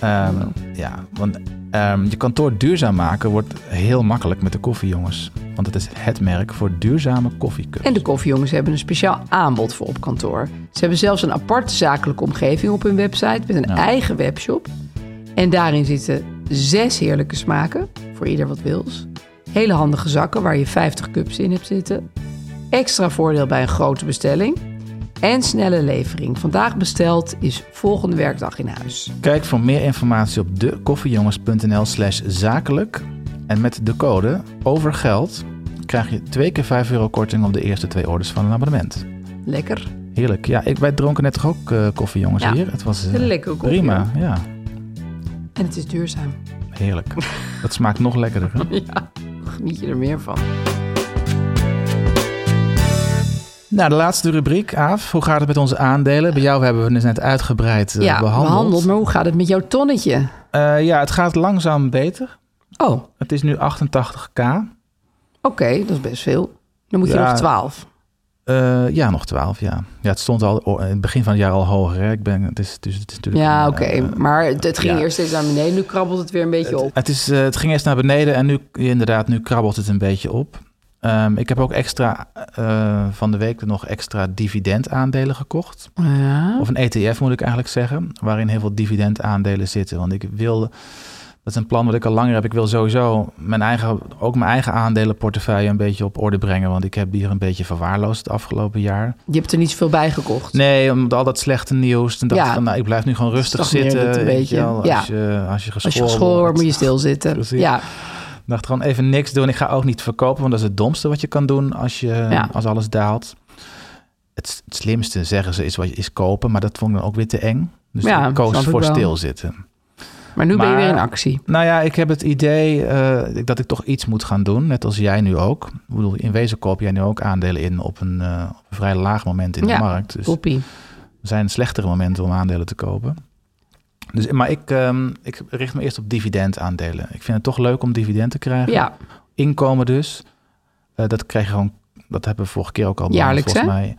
S3: Ehm, ja, want ehm, je kantoor duurzaam maken wordt heel makkelijk met de koffie, jongens. Want het is het merk voor duurzame koffiecups.
S2: En de koffiejongens hebben een speciaal aanbod voor op kantoor. Ze hebben zelfs een aparte zakelijke omgeving op hun website met een eigen webshop. En daarin zitten zes heerlijke smaken, voor ieder wat wils. Hele handige zakken waar je 50 cups in hebt zitten. Extra voordeel bij een grote bestelling. En snelle levering. Vandaag besteld is volgende werkdag in huis.
S3: Kijk voor meer informatie op dekoffiejongens.nl slash zakelijk. En met de code OVERGELD krijg je twee keer 5 euro korting op de eerste twee orders van een abonnement.
S2: Lekker.
S3: Heerlijk. Ja, ik, wij dronken net toch ook eh, koffie, jongens,
S2: Ja.
S3: hier? Het was eh,
S2: Een lekkere koffie,
S3: prima. Ja,
S2: En het is duurzaam.
S3: heerlijk. Dat smaakt nog lekkerder. hè?
S2: Geniet je er meer van.
S3: Nou, de laatste rubriek, Aaf. Hoe gaat het met onze aandelen? Bij jou hebben we het net uitgebreid eh,
S2: ja,
S3: behandeld.
S2: Maar hoe gaat het met jouw tonnetje?
S3: Eh, ja, het gaat langzaam beter.
S2: Oh, oké,
S3: Het is nu 88k.
S2: dat is best veel. Dan moet je
S3: Ja.
S2: nog 12.
S3: Eh, ja, nog 12, ja. Ja, het stond al o- in het begin van het jaar al hoger. Hè? Ik ben, het is, dus het is natuurlijk
S2: Ja,
S3: een,
S2: oké.
S3: eh,
S2: maar het, het ging
S3: ja.
S2: eerst steeds naar beneden. Nu krabbelt het weer een beetje op.
S3: Het, is, eh, het ging eerst naar beneden en nu inderdaad, nu krabbelt het een beetje op. Ehm, ik heb ook extra eh, van de week nog extra dividendaandelen gekocht.
S2: Ja.
S3: Of een ETF moet ik eigenlijk zeggen, waarin heel veel dividendaandelen zitten. Want ik wil, dat is een plan wat ik al langer heb. Ik wil sowieso mijn eigen, ook mijn eigen aandelenportefeuille een beetje op orde brengen. Want ik heb die hier een beetje verwaarloosd het afgelopen jaar.
S2: Je hebt er niet zoveel bij gekocht.
S3: Nee, omdat al dat slechte nieuws. Toen dacht
S2: Ja.
S3: ik van, nou, ik blijf nu gewoon rustig
S2: stagneert
S3: zitten.
S2: het een
S3: weet
S2: beetje.
S3: je wel.
S2: Ja.
S3: Als, je, als je
S2: Als je
S3: geschoren,
S2: geschoren wordt,
S3: wordt.
S2: moet je stilzitten.
S3: Precies.
S2: Ja.
S3: Ik dacht gewoon even niks doen. Ik ga ook niet verkopen, want dat is het domste wat je kan doen als, je,
S2: Ja.
S3: als alles daalt. Het, s- het slimste, zeggen ze, is, wat, je- is kopen, maar dat vond ik dan ook weer te eng. Dus
S2: Ja,
S3: ik koos
S2: snap ik
S3: voor
S2: wel.
S3: stilzitten.
S2: Maar nu ben je
S3: Maar-
S2: weer in actie.
S3: Nou ja, ik heb het idee eh, dat ik toch iets moet gaan doen, net als jij nu ook. Ik bedoel, in wezen koop jij nu ook aandelen in op een, eh, op een vrij laag moment in
S2: Ja,
S3: de markt. Dus
S2: Poppie.
S3: er zijn slechtere momenten om aandelen te kopen. Dus, maar ik, ehm, ik richt me eerst op dividendaandelen. Ik vind het toch leuk om dividend te krijgen
S2: Ja.
S3: inkomen dus. eh, dat krijg je gewoon, dat hebben we vorige keer ook al behandeld,
S2: Jaarlijks,
S3: volgens mij.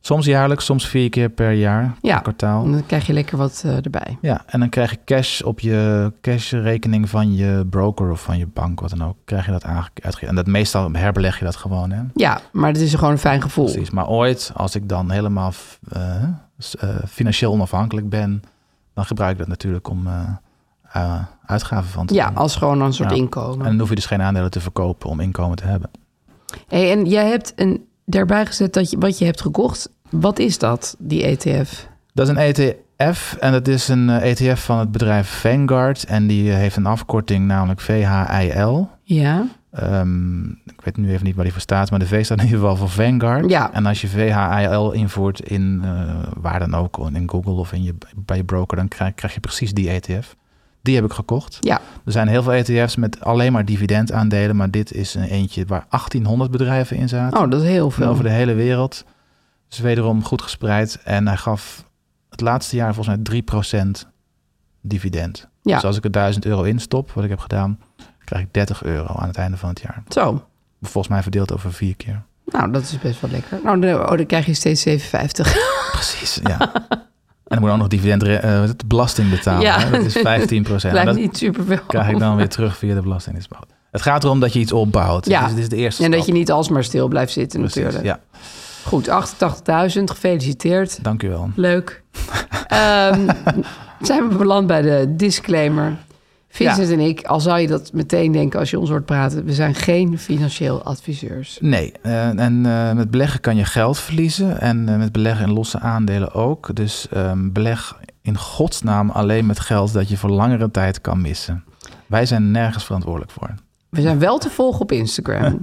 S3: Soms jaarlijks, soms vier keer per jaar,
S2: Ja. Mm.
S3: kwartaal.
S2: En dan krijg je lekker wat eh, erbij.
S3: Ja, en dan krijg je cash op je cashrekening van je broker of van je bank, wat dan ook. Krijg je dat aange- uitge- En dat meestal herbeleg je dat gewoon, hè?
S2: Ja, maar het is gewoon een fijn gevoel.
S3: Precies. Maar ooit, als ik dan helemaal f- eh, s- eh, financieel onafhankelijk ben, dan gebruik ik dat natuurlijk om eh, eh, uitgaven van te
S2: Ja,
S3: doen.
S2: als gewoon een soort
S3: Ja. En
S2: inkomen.
S3: dan hoef je dus geen aandelen te verkopen om inkomen te hebben.
S2: Hey, en jij hebt een, daarbij gezet dat je, wat je hebt gekocht. Wat is dat, die E ETF?
S3: Dat is een ETF en dat is een eh, ETF van het bedrijf Vanguard. En die eh, heeft een afkorting, namelijk VHIL.
S2: Ja,
S3: Ehm, ik weet nu even niet waar die voor staat, maar de V staat in ieder geval voor Vanguard.
S2: Ja.
S3: En als je VHIL invoert in eh, waar dan ook, in Google of in je, bij je broker, dan krijg, krijg je precies die ETF. Die heb ik gekocht.
S2: ja.
S3: Er zijn heel veel ETF's met alleen maar dividendaandelen, maar dit is een eentje waar 1800 bedrijven in zaten.
S2: Oh, dat is heel
S3: Van
S2: veel.
S3: over de hele wereld. Dus wederom goed gespreid. En hij gaf het laatste jaar volgens mij 3% dividend.
S2: Ja.
S3: Dus als ik er 1000 euro in stop, wat ik heb gedaan, krijg ik 30 euro aan het einde van het jaar.
S2: Zo,
S3: Volgens mij verdeeld over vier keer.
S2: nou, dat is best wel lekker. Nou, dan, oh, dan krijg je steeds 7,50.
S3: Precies, ja. en dan moet ook nog dividend eh, belasting betalen.
S2: Ja.
S3: hè? Dat is 15 procent.
S2: Lijkt niet superveel.
S3: krijg ik dan weer terug via de belastingdienstbouw. Het gaat erom dat je iets opbouwt.
S2: Ja.
S3: Dus dit is de eerste
S2: En dat je
S3: stap.
S2: niet alsmaar stil blijft zitten
S3: Precies,
S2: natuurlijk.
S3: Ja,
S2: Goed, 88.000, gefeliciteerd.
S3: dank u wel.
S2: Leuk. Ehm, zijn we beland bij de disclaimer. Vincent en ik, al zou je dat meteen denken als je ons hoort praten... we zijn geen financieel adviseurs.
S3: Nee, eh, en eh, met beleggen kan je geld verliezen en eh, met beleggen in losse aandelen ook. Dus ehm, beleg in godsnaam alleen met geld dat je voor langere tijd kan missen. Wij zijn nergens verantwoordelijk voor.
S2: We zijn wel te volgen op Instagram.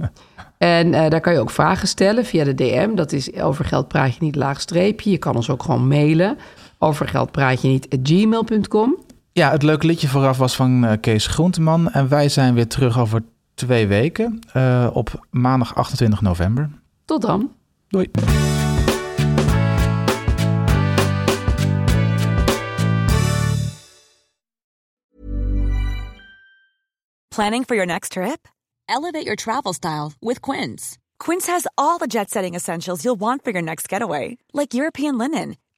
S2: En eh, daar kan je ook vragen stellen via de DM. Dat is over geld praat je niet laagstreepje. Je kan ons ook gewoon mailen. Over geld praat je niet at gmail.com.
S3: Ja, het leuke liedje vooraf was van eh, Kees Groenteman. En wij zijn weer terug over twee weken eh, op maandag 28 november.
S2: Tot dan.
S3: Doei.
S5: Planning for your next trip? Elevate your travel style with Quince. Quince has all the jet setting essentials you'll want for your next getaway, like European linen,